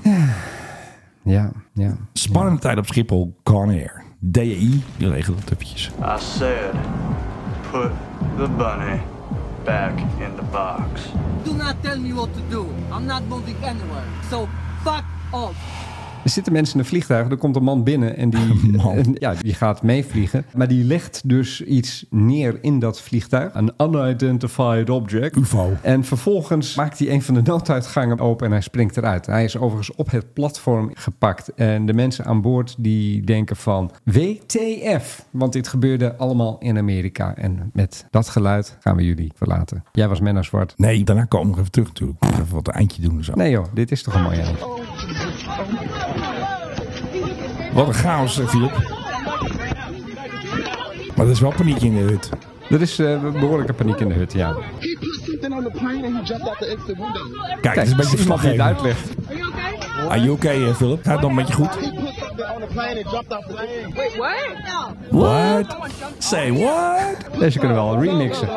E: ja, ja.
D: Spannende tijd op Schiphol, Conair. DEI, die regelt het eventjes.
B: I said, put the bunny back in the box.
G: Do not tell me what to do. I'm not moving anywhere. So fuck off.
E: Er zitten mensen in een vliegtuig, er komt een man
D: [laughs]
E: binnen en die,
D: Man.
E: en ja, die gaat meevliegen. Maar die legt dus iets neer in dat vliegtuig. Een unidentified object.
D: UFO.
E: En vervolgens maakt hij een van de nooduitgangen open en hij springt eruit. Hij is overigens op het platform gepakt. En de mensen aan boord die denken van WTF. Want dit gebeurde allemaal in Amerika. En met dat geluid gaan we jullie verlaten. Jij was Menno Zwart.
D: Nee, daarna komen we nog even terug natuurlijk. Even wat eindje doen en zo.
E: Nee joh, dit is toch een mooie eindje.
D: Wat een chaos, eh, Filip. Maar er is wel paniek in de hut.
E: Er is eh, behoorlijke paniek in de hut, ja.
K: He put something on the plane and he jumped out the exit window.
D: Kijk, het is een beetje
E: iemand die het
D: verslaggever.
E: uitlegt.
K: Are you okay?
D: Are you okay, eh, Philip? Gaat het nog met je goed?
K: He put something on the plane and jumped off the plane.
J: Wait, what?
D: What? Say what?
E: Deze kunnen we wel remixen.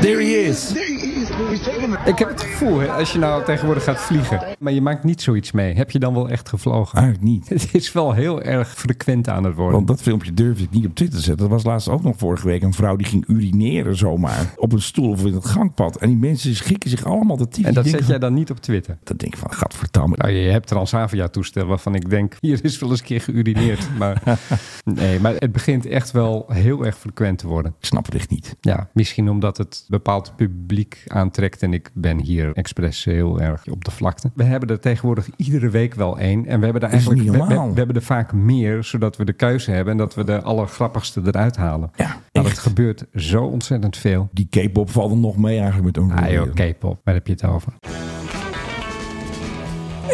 D: There he is.
E: Ik heb het gevoel, hè, als je nou tegenwoordig gaat vliegen, maar je maakt niet zoiets mee, heb je dan wel echt gevlogen? [laughs]
D: Eigenlijk niet.
E: Het is wel heel erg frequent aan het worden.
D: Want dat filmpje durfde ik niet op Twitter te zetten. Dat was laatst ook nog vorige week. Een vrouw die ging urineren zomaar. Op een stoel of in het gangpad. En die mensen schrikken zich allemaal de tyfus.
E: En dat
D: Die
E: zet
D: denken
E: jij dan niet op Twitter?
D: van- Dat denk ik van, gadverdamme.
E: Nou, je hebt Transavia-toestel waarvan ik denk, hier is wel eens een keer geurineerd. Maar nee, maar het begint echt wel heel erg frequent te worden.
D: Ik snap het echt niet.
E: Ja, misschien omdat het bepaald publiek aantrekt en ik ben hier expres heel erg op de vlakte. We hebben er tegenwoordig iedere week wel één en we hebben er
D: Is
E: eigenlijk
D: niet
E: we, we-
D: normaal.
E: we hebben er vaak meer zodat we de keuze hebben en dat we de allergrappigste eruit halen.
D: Ja,
E: maar
D: echt.
E: het gebeurt zo ontzettend veel.
D: Die K-pop valt er nog mee eigenlijk met
E: Ah
D: een
E: joh, K-pop, waar heb je het over?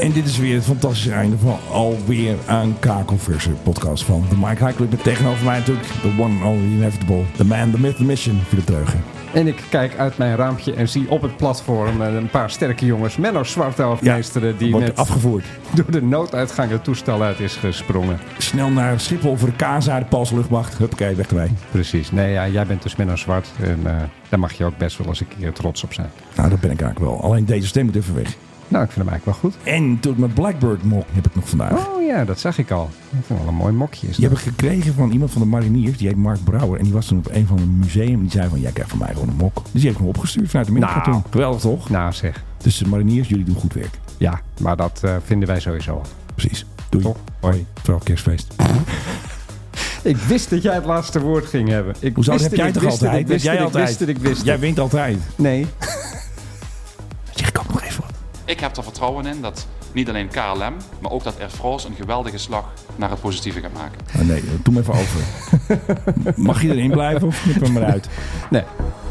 D: En dit is weer het fantastische einde van alweer een kakelverse podcast van de Mike High Club. Met tegenover mij natuurlijk the one and only inevitable, the man, the myth, the mission, Philip Dreugen.
E: En ik kijk uit mijn raampje en zie op het platform eh, een paar sterke jongens, Menno Zwarthoofd
D: Ja,
E: meesteren, eh, die
D: wordt
E: net
D: afgevoerd.
E: door de nooduitgang het toestel uit is gesprongen.
D: Snel naar Schiphol voor de KSA, de Poolse luchtmacht. Huppakee, weg erbij.
E: Precies. Nee, ja, jij bent dus Menno Zwart. En eh, daar mag je ook best wel eens een keer trots op zijn.
D: Nou, dat ben ik eigenlijk wel. Alleen deze stem moet even weg.
E: Nou, ik vind hem eigenlijk wel goed.
D: En tot mijn Blackbird mok heb ik nog vandaag.
E: Oh ja, dat zag ik al. Ik vind het wel een mooi mokje. Is
D: Die heb ik gekregen van iemand van de mariniers. Die heet Mark Brouwer. En die was toen op een van een museum. Die zei van, jij krijgt van mij gewoon een mok. Dus die heeft me opgestuurd vanuit de middag.
E: Nou.
D: Geweldig toch?
E: dat? Nou zeg,
D: Dus de mariniers, jullie doen goed werk.
E: ja, maar dat eh, vinden wij sowieso al.
D: Precies. Doei.
E: Toch? Hoi.
D: Vooral kerstfeest.
E: Ik wist dat jij het laatste woord ging hebben. Ik
D: Hoezo dat heb
E: wist het,
D: jij
E: ik
D: toch
E: wist het,
D: altijd?
E: Ik wist
D: Heb
E: het,
D: jij
E: ik wist het,
D: altijd?
E: ik wist
D: Jij
E: het.
D: wint altijd.
E: Nee.
D: Zeg ik ook nog even wat.
C: Ik heb er vertrouwen in dat niet alleen KLM, maar ook dat Air France een geweldige slag naar het positieve gaat maken.
E: [laughs]
D: Ah, nee, doe me even over. Mag je erin blijven of knip hem eruit?
E: Nee.